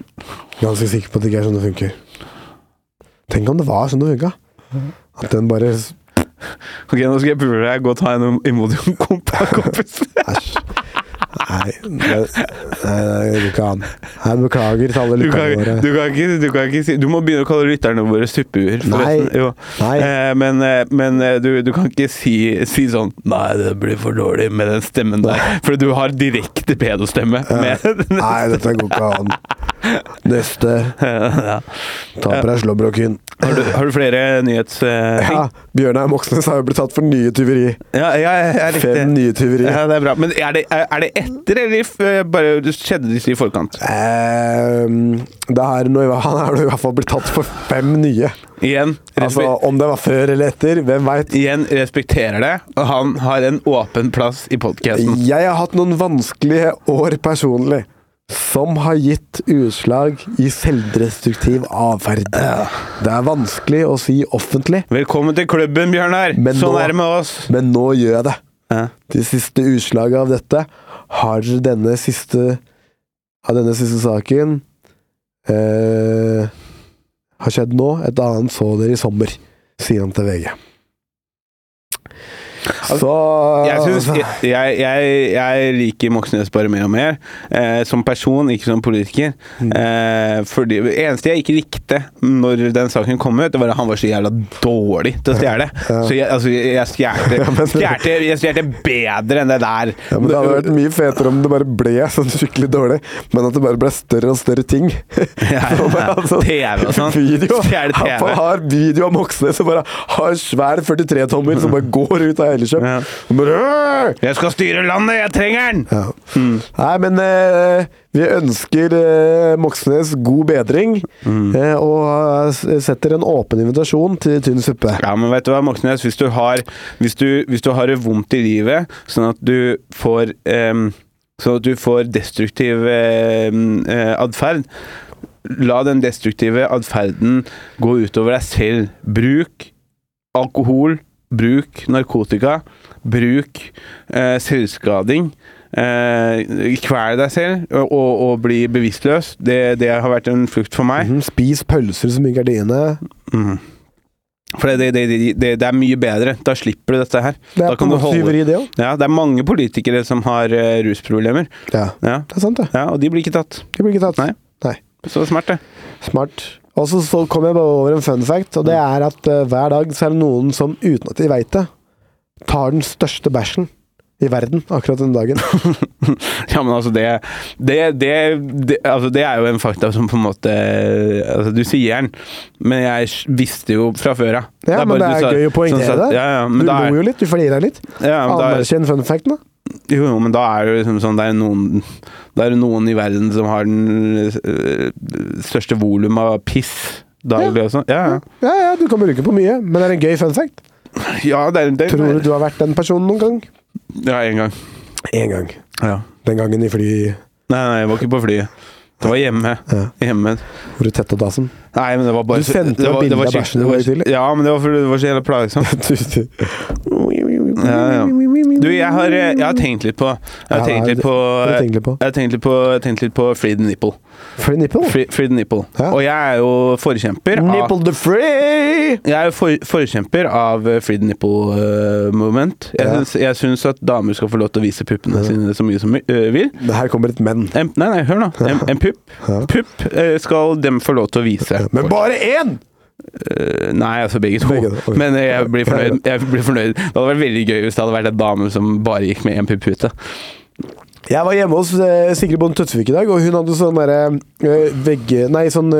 Speaker 7: Ganske sikker på at det ikke er sånn det funker. Tenk om det var sånn det funka. At den bare Æsj.
Speaker 4: Ok, nå skal jeg pule deg. Gå og ta en Imodium Komp, da, kompis.
Speaker 7: Nei, det, nei, det går ikke an. Nei, beklager til alle
Speaker 4: Du kan,
Speaker 7: lytterne våre.
Speaker 4: du, kan ikke, du kan ikke si Du må begynne å kalle lytterne våre suppehuer. forresten.
Speaker 7: Nei.
Speaker 4: Jo.
Speaker 7: Nei.
Speaker 4: Eh, men eh, men eh, du, du kan ikke si, si sånn Nei, det blir for dårlig med den stemmen der. For du har direkte pedostemme. Med den.
Speaker 7: Nei, dette går ikke an. Neste.
Speaker 4: ja.
Speaker 7: Ta på deg slåbroken.
Speaker 4: har, du, har du flere nyhets... eh, ting?
Speaker 7: Ja, Bjørnar Moxnes har jo blitt tatt for nye tyveri.
Speaker 4: ja, ja, ja, ja, riktig.
Speaker 7: Fem nye tyveri.
Speaker 4: Ja, det er bra. Men er det, er, er det etter, eller f- eh, bare det skjedde disse i forkant?
Speaker 7: Ehm, det her, nå, han er nå i hvert fall blitt tatt for fem nye.
Speaker 4: Igjen, respe
Speaker 7: Altså, Om det var før eller etter, hvem veit.
Speaker 4: igjen respekterer det. Og han har en åpen plass i podkasten.
Speaker 7: Jeg har hatt noen vanskelige år personlig. Som har gitt utslag i selvdestruktiv atferd. Det er vanskelig å si offentlig,
Speaker 4: Velkommen til klubben, Bjørnar!
Speaker 7: Men
Speaker 4: Sånn
Speaker 7: nå-
Speaker 4: er det med oss.
Speaker 7: men nå gjør jeg det.
Speaker 4: Ja.
Speaker 7: De siste utslaget av dette har denne siste Av denne siste saken eh, har skjedd nå. Et annet så dere i sommer, sier han til VG. Så
Speaker 4: Jeg, synes,
Speaker 7: Ah.
Speaker 4: jeg, jeg, jeg liker Moxnes bare mer og mer, eh, som person, ikke som politiker.
Speaker 7: Mm.
Speaker 4: Eh, fordi, det eneste jeg ikke likte når den saken kom ut, det var at han var så jævla dårlig til å stjele. Så jeg, altså, jeg, jeg stjerte- stjerte jeg stjerte bedre enn det der.
Speaker 7: Ja, men Det hadde vært mye fetere om det bare ble sånn skikkelig dårlig, men at det bare ble større og større ting.
Speaker 4: Ja,
Speaker 7: Så bare,
Speaker 4: TV og sånn.
Speaker 7: Video.
Speaker 4: Fjerde
Speaker 7: Han
Speaker 4: TV.
Speaker 7: bare har video av Moxnes som bare har en svær 43-tommer som bare går ut av Hellesjøp.
Speaker 4: Ja.
Speaker 7: Og bare, «Åh!»
Speaker 4: Jeg skal styre landet, jeg trenger den!
Speaker 7: Ja.
Speaker 4: Mm.
Speaker 7: Nei, men eh, vi ønsker eh, Moxnes god bedring,
Speaker 4: Mm.
Speaker 7: eh, og eh, setter en åpen invitasjon til tynn suppe.
Speaker 4: Ja, men vet du hva, Moxnes, hvis du har, hvis du, hvis du har det vondt i livet, sånn at du får em, Sånn at du får destruktiv um, atferd, la den destruktive atferden gå utover deg selv. Bruk alkohol, bruk narkotika, bruk eh, selvskading. Eh, Kvel deg selv og, og, og bli bevisstløs. Det, det har vært en flukt for meg.
Speaker 7: Mhm, Spis pølser som ikke er dine.
Speaker 4: For det, det, det, det, det er mye bedre. Da slipper du dette her.
Speaker 7: Det
Speaker 4: Da
Speaker 7: er på
Speaker 4: kan
Speaker 7: en
Speaker 4: du
Speaker 7: måte
Speaker 4: holde-
Speaker 7: tyveri, det òg.
Speaker 4: Ja, det er mange politikere som har eh, rusproblemer.
Speaker 7: Ja.
Speaker 4: Ja.
Speaker 7: Det er sant, det.
Speaker 4: ja, og de blir ikke tatt.
Speaker 7: Det blir ikke tatt.
Speaker 4: Nei.
Speaker 7: Nei.
Speaker 4: Så smart, det.
Speaker 7: Smart. Og så, så kom jeg bare over en fun fact,
Speaker 4: Mm.
Speaker 7: og det er at eh, hver dag så er det noen som, uten at de veit det, tar den største bæsjen i verden akkurat den dagen.
Speaker 4: Ja, men altså det det, det, det, altså det er jo en fakta som på en måte altså Du sier den, men jeg visste jo fra før av.
Speaker 7: Ja, men det er gøy å poengtere det.
Speaker 4: Ja, ja,
Speaker 7: Du
Speaker 4: men da
Speaker 7: lo
Speaker 4: er,
Speaker 7: jo litt, du flirer litt.
Speaker 4: ja, men da er,
Speaker 7: Anerkjenn fun facten, da.
Speaker 4: jo, jo, men da er det jo liksom sånn Det er noen, det er noen i verden som har den øh, største volum av piss daglig og sånn. Ja, ja.
Speaker 7: Ja, ja, du kan bruke på mye, men det er en gøy fun fact.
Speaker 4: ja, det er det. er-
Speaker 7: Tror du du har vært den personen noen gang?
Speaker 4: Ja, én gang.
Speaker 7: Én gang.
Speaker 4: Ja.
Speaker 7: Den gangen i fly
Speaker 4: Nei, nei, jeg var ikke på flyet. Det var hjemme. hjemme.
Speaker 7: hvor du tetta dassen.
Speaker 4: Nei, men det var bare
Speaker 7: Du sendte meg bilde av bæsjen din i dag tidlig.
Speaker 4: Ja, men det var fordi det var så jævla plagsomt.
Speaker 7: Du- du-
Speaker 4: Ja, ja. Du, jeg har, eh, jeg har tenkt litt på Jeg har
Speaker 7: Ja,
Speaker 4: tenkt litt
Speaker 7: det-
Speaker 4: på
Speaker 7: det har du tenkt litt på.
Speaker 4: Jeg har tenkt litt på, jeg har tenkt litt på Free the Nipple.
Speaker 7: Free nipple?
Speaker 4: Free, free the nipple.
Speaker 7: Ja.
Speaker 4: Og jeg er jo forkjemper av
Speaker 7: the free!
Speaker 4: jeg er jo for, forkjemper av eh, free the nipple eh, movement. Jeg,
Speaker 7: Ja.
Speaker 4: syns, jeg syns at damer skal få lov til å vise puppene sine så mye som eh, vil.
Speaker 7: Det her kommer et men.
Speaker 4: En, nei, nei, hør nå. En, en pupp Pupp eh, skal dem få lov til å vise.
Speaker 7: Men bare én!
Speaker 4: Eh, Nei, altså begge to.
Speaker 7: Begge to, ok.
Speaker 4: Men eh, jeg blir, fornøyd. jeg blir fornøyd. Det hadde vært veldig gøy hvis det hadde vært en dame som bare gikk med én pupp ute.
Speaker 7: Jeg var hjemme hos eh, Sigrid Bonde Tødsvik i dag, og hun hadde sånn derre eh, vegg... Nei, sånn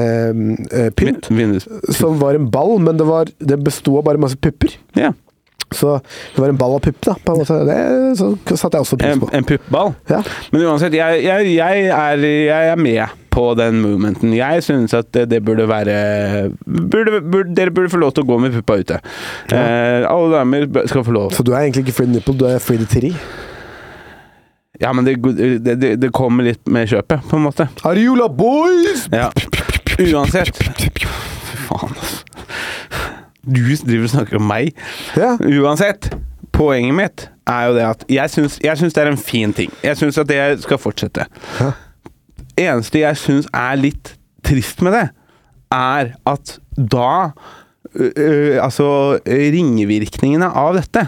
Speaker 7: vinduspynt.
Speaker 4: Vindus.
Speaker 7: eh, Som var en ball, men det, var, det besto av bare masse pupper.
Speaker 4: Ja.
Speaker 7: Så det var en ball av pupp, da. På en måte. Det så satte jeg også pris
Speaker 4: En,
Speaker 7: på.
Speaker 4: en puppball.
Speaker 7: Ja.
Speaker 4: Men uansett, jeg, jeg, jeg, er, jeg er med på den movementen. Jeg synes at det, det burde være burde, burde, Dere burde få lov til å gå med puppa ute. Eh, alle damer bør- skal få lov.
Speaker 7: Så du er egentlig ikke free nipple, du er free the titty.
Speaker 4: Ja, men det, det, det, det kommer litt med kjøpet, på en måte.
Speaker 7: Ariola boys!
Speaker 4: Ja. Uansett Fy faen, altså. Du driver og snakker om meg.
Speaker 7: Ja.
Speaker 4: Uansett, poenget mitt er jo det at jeg syns, jeg syns det er en fin ting. Jeg syns at det skal fortsette. Eneste jeg syns er litt trist med det, er at da ø, ø, Altså, ringevirkningene av dette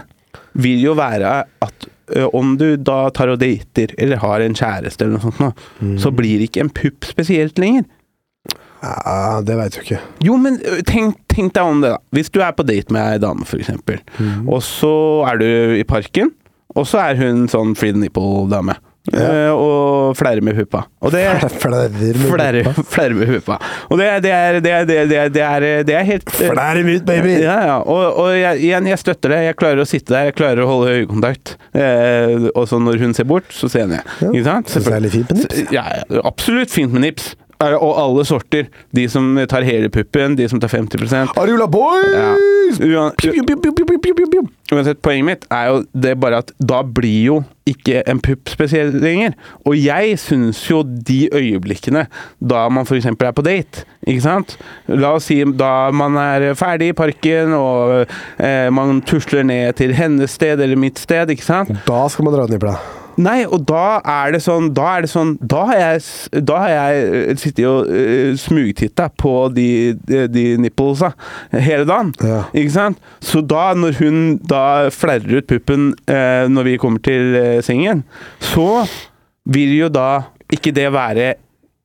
Speaker 4: vil jo være at ø, om du da tar og dater, eller har en kjæreste eller noe sånt, nå, så blir ikke en pupp spesielt lenger.
Speaker 7: Ja, Ah, det veit du ikke.
Speaker 4: Jo, men ø, tenk, tenk deg om det, da. Hvis du er på date med ei dame, f.eks., eksempel
Speaker 7: Mhm.
Speaker 4: og så er du i parken, og så er hun sånn free the nipple-dame. ø, Og flerrer med puppa. Og det
Speaker 7: Flerrer
Speaker 4: Flerrer flerrer med puppa. Og det, det, er, det, er, det, er, det, er, det, er, det er helt ø,
Speaker 7: ut, baby!
Speaker 4: ja, ja. Og, og jeg, igjen, jeg støtter det. Jeg klarer å sitte der, jeg klarer å holde øyekontakt. Eh, og så når hun ser bort, så ser jeg.
Speaker 7: Ja.
Speaker 4: Ikke sant?
Speaker 7: Synes det er litt fint med nips.
Speaker 4: Ja, ja, absolutt fint med nips. Er det- Og alle sorter. De som tar hele puppen, de som tar 50
Speaker 7: Ariola boys!
Speaker 4: ja. Uan-
Speaker 7: Piu, piu, piu, piu, piu, piu, piu, piu.
Speaker 4: Uansett, poenget mitt er jo det bare at da blir jo ikke en pupp spesielt lenger. Og jeg syns jo de øyeblikkene da man f.eks. er på date, ikke sant La oss si da man er ferdig i parken og eh, man tusler ned til hennes sted eller mitt sted, ikke sant.
Speaker 7: Da skal man dra ut nipla.
Speaker 4: Nei, og da er det sånn Da, er det sånn, da har jeg, s- da har jeg eh, sittet og uh, smugtitta på de, de, de nipplesa hele dagen.
Speaker 7: Ja.
Speaker 4: Ikke sant? Så da, når hun da flerrer ut puppen eh, når vi kommer til eh, sengen, så vil jo da ikke det være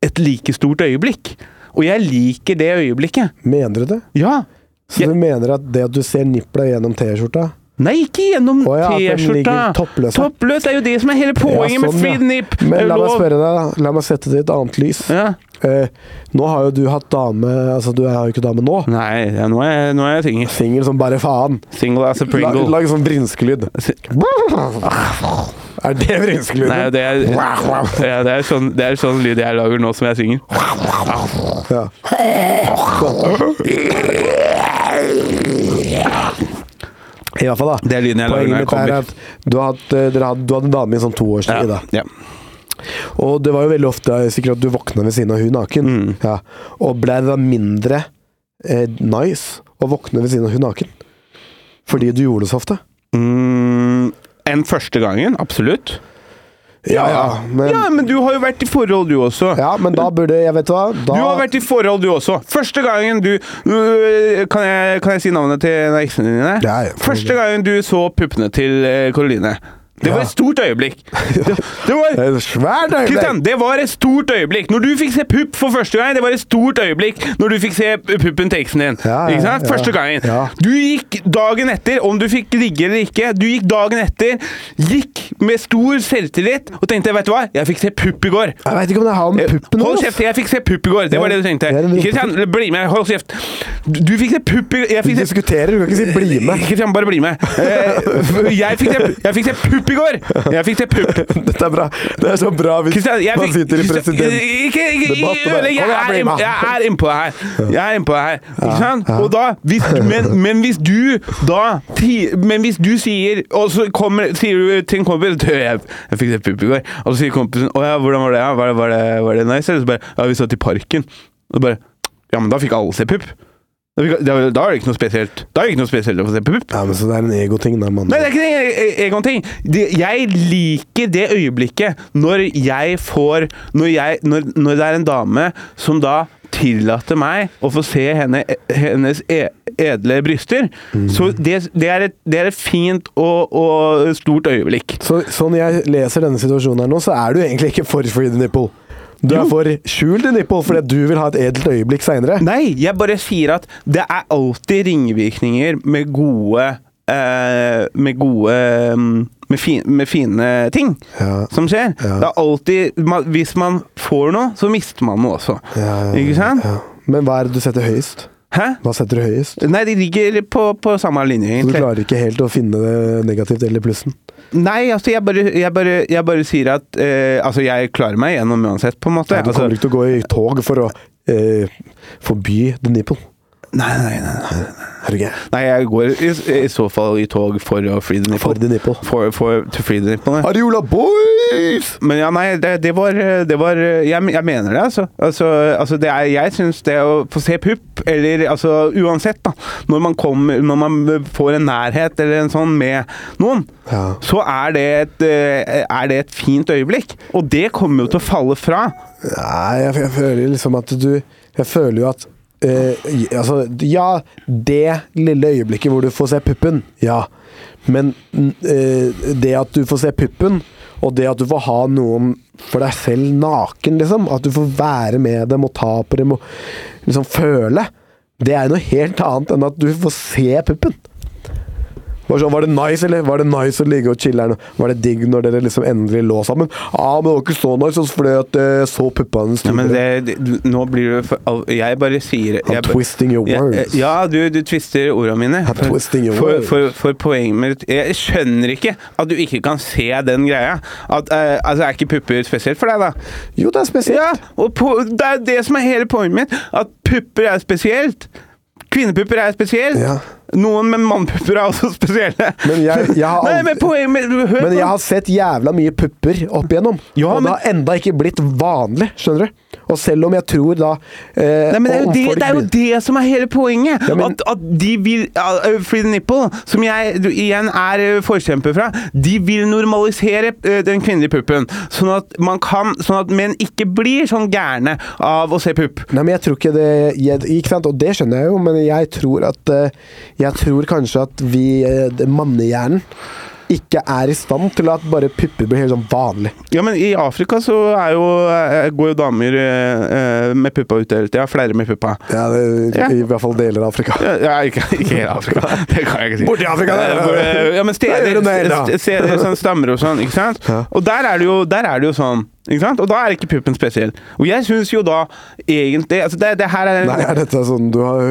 Speaker 4: et like stort øyeblikk. Og jeg liker det øyeblikket.
Speaker 7: Mener du det?
Speaker 4: Ja.
Speaker 7: Så
Speaker 4: Ja.
Speaker 7: du mener at det at du ser nipla gjennom T-skjorta
Speaker 4: Nei, ikke gjennom
Speaker 7: Å ja, at den
Speaker 4: T-skjorta!
Speaker 7: ligger toppløs, ja.
Speaker 4: Toppløs er jo det som er hele poenget
Speaker 7: Ja, sånn,
Speaker 4: med
Speaker 7: ja.
Speaker 4: free nip!
Speaker 7: Men
Speaker 4: Det er
Speaker 7: la meg
Speaker 4: lov.
Speaker 7: spørre deg, da. la meg sette det i et annet lys.
Speaker 4: Ja.
Speaker 7: Eh, nå har jo du hatt dame Altså, du er jo ikke dame nå.
Speaker 4: Nei, ja, nå, er, jeg- nå er jeg singel.
Speaker 7: Singel som bare faen.
Speaker 4: Single as a
Speaker 7: Lag,
Speaker 4: pringle.
Speaker 7: lag en sånn vrinskelyd.
Speaker 4: Si-
Speaker 7: Er det vrinskelyden?
Speaker 4: Nei, det er, ja, det, er sånn, det er sånn lyd jeg lager nå som jeg synger.
Speaker 7: Ja. I hvert fall, da.
Speaker 4: Det er lyden jeg lager
Speaker 7: Poenget
Speaker 4: når jeg
Speaker 7: mitt er
Speaker 4: kommer.
Speaker 7: at du har hatt, eh, dere hadde, du hadde en dame i en sånn toårstid.
Speaker 4: Ja,
Speaker 7: da.
Speaker 4: ja.
Speaker 7: Og det var jo veldig ofte eh, sikkert at du våkna ved siden av hun naken.
Speaker 4: Mm.
Speaker 7: Ja. Og blei det da mindre eh, nice å våkne ved siden av hun naken? Fordi du gjorde det så ofte?
Speaker 4: Mm, enn første gangen, absolutt.
Speaker 7: Ja, ja. Men,
Speaker 4: Ja, men du har jo vært i forhold, du også.
Speaker 7: ja, men da burde Jeg vet hva. Da,
Speaker 4: Du har vært i forhold, du også. Første gangen du øh, Kan jeg, kan jeg si navnet til en av eksene dine?
Speaker 7: Ja, ja.
Speaker 4: Første gangen du så puppene til eh, Karoline. Det var
Speaker 7: Ja.
Speaker 4: et stort øyeblikk. Det, det
Speaker 7: Det
Speaker 4: var
Speaker 7: er et svært
Speaker 4: Kristian,
Speaker 7: øyeblikk!
Speaker 4: det var et stort øyeblikk! Når du fikk se pupp for første gang, det var et stort øyeblikk når du fikk se puppen til eksen din.
Speaker 7: Ja, ja,
Speaker 4: ikke sant?
Speaker 7: ja.
Speaker 4: Første gangen.
Speaker 7: Ja.
Speaker 4: Du gikk dagen etter, om du fikk ligge eller ikke, du gikk dagen etter, gikk med stor selvtillit og tenkte 'vet du hva, jeg fikk se pupp i går'.
Speaker 7: Jeg veit ikke om det er han puppen
Speaker 4: Eh, Hold
Speaker 7: ass.
Speaker 4: kjeft, jeg fikk se pupp i går. Det var
Speaker 7: Ja,
Speaker 4: det du tenkte.
Speaker 7: det er en
Speaker 4: Kristian, bli med. Hold kjeft. Du, du fikk se pupp i jeg
Speaker 7: Vi
Speaker 4: fikk se
Speaker 7: diskuterer, du kan ikke si 'bli med'.
Speaker 4: Kristian, bare bli med. Eh, Jeg fikk se, jeg fikk se pupp i går! Jeg fikk se pupp.
Speaker 7: Dette er bra. Det er så bra hvis
Speaker 4: Kristian, jeg
Speaker 7: man
Speaker 4: fikk-
Speaker 7: sitter i
Speaker 4: Kristian,
Speaker 7: president...
Speaker 4: Ikke, ikke, ikke
Speaker 7: debatt, og bare,
Speaker 4: ødelegg! Jeg
Speaker 7: kom igjen,
Speaker 4: er
Speaker 7: bli
Speaker 4: inn-
Speaker 7: med.
Speaker 4: jeg er innpå det her. Jeg er innpå det her. Ikke sant?
Speaker 7: ja.
Speaker 4: Og da, hvis, men, men hvis du da ti- Men hvis du sier Og så kommer, sier du til en kompis Du, jeg, jeg fikk det pupp i går. Og så sier kompisen Å ja, hvordan var det? Ja? Var, det, var, det, var det nice? Eller så bare Ja, vi satt i parken. Og så bare Ja, men da fikk alle se pupp. Da, fikk, da, da er det ikke noe spesielt Da er det ikke noe spesielt å få se pupp.
Speaker 7: Ja, men Så det er en egoting, da, mann.
Speaker 4: Nei, det er ikke det. E- e- Egon ting. Det- Jeg liker det øyeblikket når jeg får når, jeg, når, når det er en dame som da tillater meg å få se henne, hennes e edle bryster. Så det, det, er et, det er et fint og, og stort øyeblikk.
Speaker 7: Så, sånn jeg leser denne situasjonen her nå, så er du egentlig ikke for free the nipple. Du er for skjult the nipple fordi du vil ha et edelt øyeblikk seinere.
Speaker 4: Nei, jeg bare sier at det er alltid ringvirkninger med gode eh, Med gode mm, med, fi, med fine ting
Speaker 7: Ja.
Speaker 4: som skjer.
Speaker 7: Ja.
Speaker 4: Det er alltid man, Hvis man får noe, så mister man noe også. Ikke sant?
Speaker 7: Men hva er det du setter høyest?
Speaker 4: Hæ?
Speaker 7: Hva setter du høyest?
Speaker 4: Nei, de ligger på, på samme linje,
Speaker 7: Du
Speaker 4: egentlig.
Speaker 7: klarer ikke helt å finne det negativt eller plussen.
Speaker 4: Nei, altså, jeg bare, jeg bare, jeg bare sier at eh, Altså, jeg klarer meg gjennom uansett, på en måte.
Speaker 7: Du kommer
Speaker 4: Altså,
Speaker 7: ikke til å gå i tog for å eh, forby the nipple.
Speaker 4: nei, nei, nei, nei.
Speaker 7: Herregud.
Speaker 4: Nei, jeg går i, i så fall i tog for å free the nipple.
Speaker 7: For the nipple.
Speaker 4: For, for, to free the nipple. ja.
Speaker 7: Ariola boys!
Speaker 4: Men ja, nei, det, det var, det var jeg, jeg mener det, altså. Altså, altså det er, jeg syns det å få se pupp, eller altså uansett, da Når man, kommer, når man får en nærhet eller en sånn med noen,
Speaker 7: Ja.
Speaker 4: så er det, et, eh, er det et fint øyeblikk. Og det kommer jo til å falle fra.
Speaker 7: Nei, jeg, jeg føler liksom at du Jeg føler jo at eh, j- Altså, ja, det lille øyeblikket hvor du får se puppen, ja. Men mm, eh, det at du får se puppen, og det at du får ha noen for deg selv naken, liksom. At du får være med dem og ta på dem og liksom føle. Det er noe helt annet enn at du får se puppen. Var, sånn, var det nice, eller? Var det nice å ligge og chille her nå? Var det digg når dere liksom endelig lå sammen? Ja, ah, men det var ikke så nice, altså, fordi at jeg så puppa hennes.
Speaker 4: Ja, men det, det- nå blir det for, al- Jeg bare sier
Speaker 7: I'm
Speaker 4: jeg, bare-
Speaker 7: twisting your
Speaker 4: Ja,
Speaker 7: words.
Speaker 4: Ja, du, du twister ordene mine.
Speaker 7: I'm twisting your
Speaker 4: for,
Speaker 7: words.
Speaker 4: For, for, poenget mitt Jeg skjønner ikke at du ikke kan se den greia. At, eh, altså, Er ikke pupper spesielt for deg, da?
Speaker 7: Jo, det er spesielt.
Speaker 4: Ja, og på, Det er det som er hele poenget mitt. At pupper er spesielt. Kvinnepupper er spesielt.
Speaker 7: Ja.
Speaker 4: Noen med mannpupper er også spesielle.
Speaker 7: Men jeg- jeg har
Speaker 4: Nei,
Speaker 7: aldri-
Speaker 4: men poenget mitt Hør
Speaker 7: Men
Speaker 4: på
Speaker 7: jeg har sett jævla mye pupper opp igjennom,
Speaker 4: Ja,
Speaker 7: og
Speaker 4: men-
Speaker 7: det har enda ikke blitt vanlig, skjønner du? Og selv om jeg tror da eh,
Speaker 4: Nei, men det er, jo
Speaker 7: om folk
Speaker 4: det, det er jo
Speaker 7: begynner-
Speaker 4: det som er hele poenget!
Speaker 7: Ja, men-
Speaker 4: at, at de vil ja, ø, Free the nipple, som jeg du, igjen er ø, forkjemper fra, de vil normalisere ø, den kvinnelige puppen. Sånn at man kan Sånn at menn ikke blir sånn gærne av å se pupp.
Speaker 7: Nei, men jeg tror ikke det jeg, Ikke sant, og det skjønner jeg jo, men jeg tror at eh, Jeg tror kanskje at vi, eh, det- mannehjernen, ikke er i stand til at bare pupper blir helt sånn vanlig.
Speaker 4: Ja, men i Afrika så er jo, ø, går jo damer ø, ø, med puppa ute hele tida. Flere med puppa.
Speaker 7: Ja, det,
Speaker 4: Ja.
Speaker 7: I hvert fall deler av Afrika.
Speaker 4: Ja, Ja, ikke, ikke hele Afrika. Det kan jeg ikke si.
Speaker 7: Borti Afrika, det.
Speaker 4: Eh, hvor, eh, Ja, men
Speaker 7: Der gjør
Speaker 4: steder,
Speaker 7: du det, da.
Speaker 4: st- steder sånn stammer og sånn, ikke sant?
Speaker 7: Ja.
Speaker 4: Og der er det jo, der er det jo sånn. Ikke sant? Og da er ikke puppen spesiell. Og jeg syns jo da egentlig altså det, det her er
Speaker 7: Nei, er dette sånn du har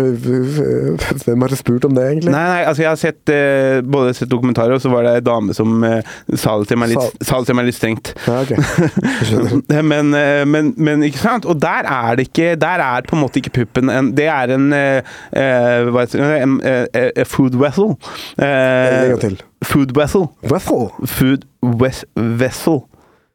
Speaker 7: Hvem har spurt om det, egentlig?
Speaker 4: Nei, nei, altså jeg har sett eh, både sett dokumentarer, og så var det ei dame som eh, sa det til meg litt, sa det til meg litt strengt.
Speaker 7: Ja, ok. Jeg skjønner.
Speaker 4: men, eh, men, men ikke sant? Og der er det ikke Der er på en måte ikke puppen en Det er en, eh, eh, hva heter det, en eh, eh, food vessel. Eh,
Speaker 7: En gang til.
Speaker 4: Food vessel.
Speaker 7: Wessel.
Speaker 4: Food wes vessel.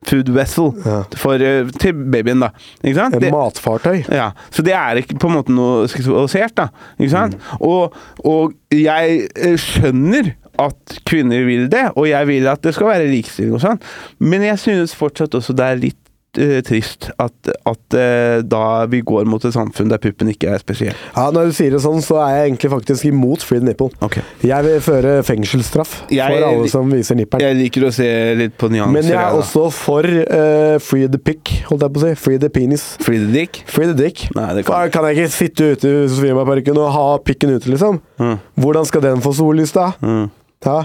Speaker 4: Food vessel.
Speaker 7: Ja.
Speaker 4: For, eh, til babyen, da. Ikke sant?
Speaker 7: Et
Speaker 4: Det-
Speaker 7: matfartøy.
Speaker 4: ja, Så det er ikke på en måte noe seksualisert, da. Ikke sant? Og, og jeg eh, skjønner at kvinner vil det, og jeg vil at det skal være likestilling og sånn, men jeg synes fortsatt også det er litt eh, trist at, at eh, da vi går mot et samfunn der puppen ikke er spesiell.
Speaker 7: Ja, når du sier det sånn, så er jeg egentlig faktisk imot free nipple.
Speaker 4: Ok.
Speaker 7: Jeg vil føre fengselsstraff
Speaker 4: Jeg-
Speaker 7: for alle som viser nipperen.
Speaker 4: Jeg liker å se litt på nyanser.
Speaker 7: Men jeg er
Speaker 4: da.
Speaker 7: også for eh, free the pick, holdt jeg på å si. Free the penis.
Speaker 4: Free the dick?
Speaker 7: Free the dick.
Speaker 4: Nei, det
Speaker 7: Kan,
Speaker 4: kan
Speaker 7: kan jeg ikke sitte ute i Sofiemarparken og ha pikken ute, liksom?
Speaker 4: Mm.
Speaker 7: Hvordan skal den få sollys, da?
Speaker 4: Mm.
Speaker 7: Ja.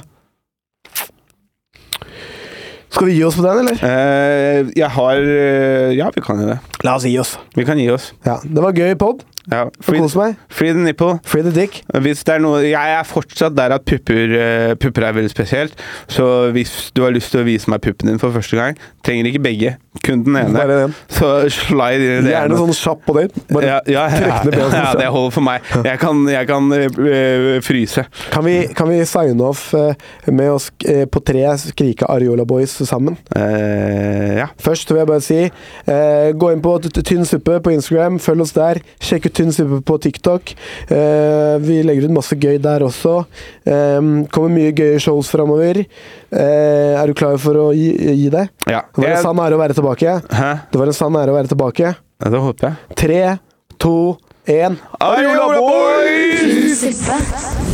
Speaker 7: Skal vi gi oss på den, eller?
Speaker 4: Eh, jeg har eh, Ja, vi kan jo det.
Speaker 7: La oss gi oss.
Speaker 4: Vi kan gi oss.
Speaker 7: Ja, Det var gøy pod.
Speaker 4: Ja.
Speaker 7: Få
Speaker 4: Free,
Speaker 7: kose meg.
Speaker 4: free the nipple.
Speaker 7: Free the dick.
Speaker 4: Hvis det er noe, jeg er fortsatt der at pupper, eh, pupper er veldig spesielt. Så hvis du har lyst til å vise meg puppen din for første gang, trenger ikke begge. Kun den ene.
Speaker 7: Bare den.
Speaker 4: Så slide inn i det
Speaker 7: Gjerne
Speaker 4: ene.
Speaker 7: sånn kjapp på date. Bare liksom.
Speaker 4: ja, ja, ja,
Speaker 7: trekk ned
Speaker 4: ja,
Speaker 7: penisen.
Speaker 4: det holder for meg. Jeg kan, jeg kan eh, fryse.
Speaker 7: Kan vi, kan vi signe off eh, med å sk eh, på tre skrike Ariola Boys sammen?
Speaker 4: Eh, ja.
Speaker 7: Først vil jeg bare si eh, gå inn på t- t- Tynn suppe på Instagram, følg oss der. Sjekk ut Tynn suppe på TikTok. Eh, vi legger ut masse gøy der også. Eh, kommer mye gøye shows framover. Eh, er du klar for å gi, gi deg?
Speaker 4: ja.
Speaker 7: Det var en
Speaker 4: Jeg-
Speaker 7: sann ære å være tilbake.
Speaker 4: Hæ?
Speaker 7: Det var en sann ære å være tilbake.
Speaker 4: Ja, det håper jeg.
Speaker 7: Tre, to, én.
Speaker 4: Ariola Boys!
Speaker 1: Suppe.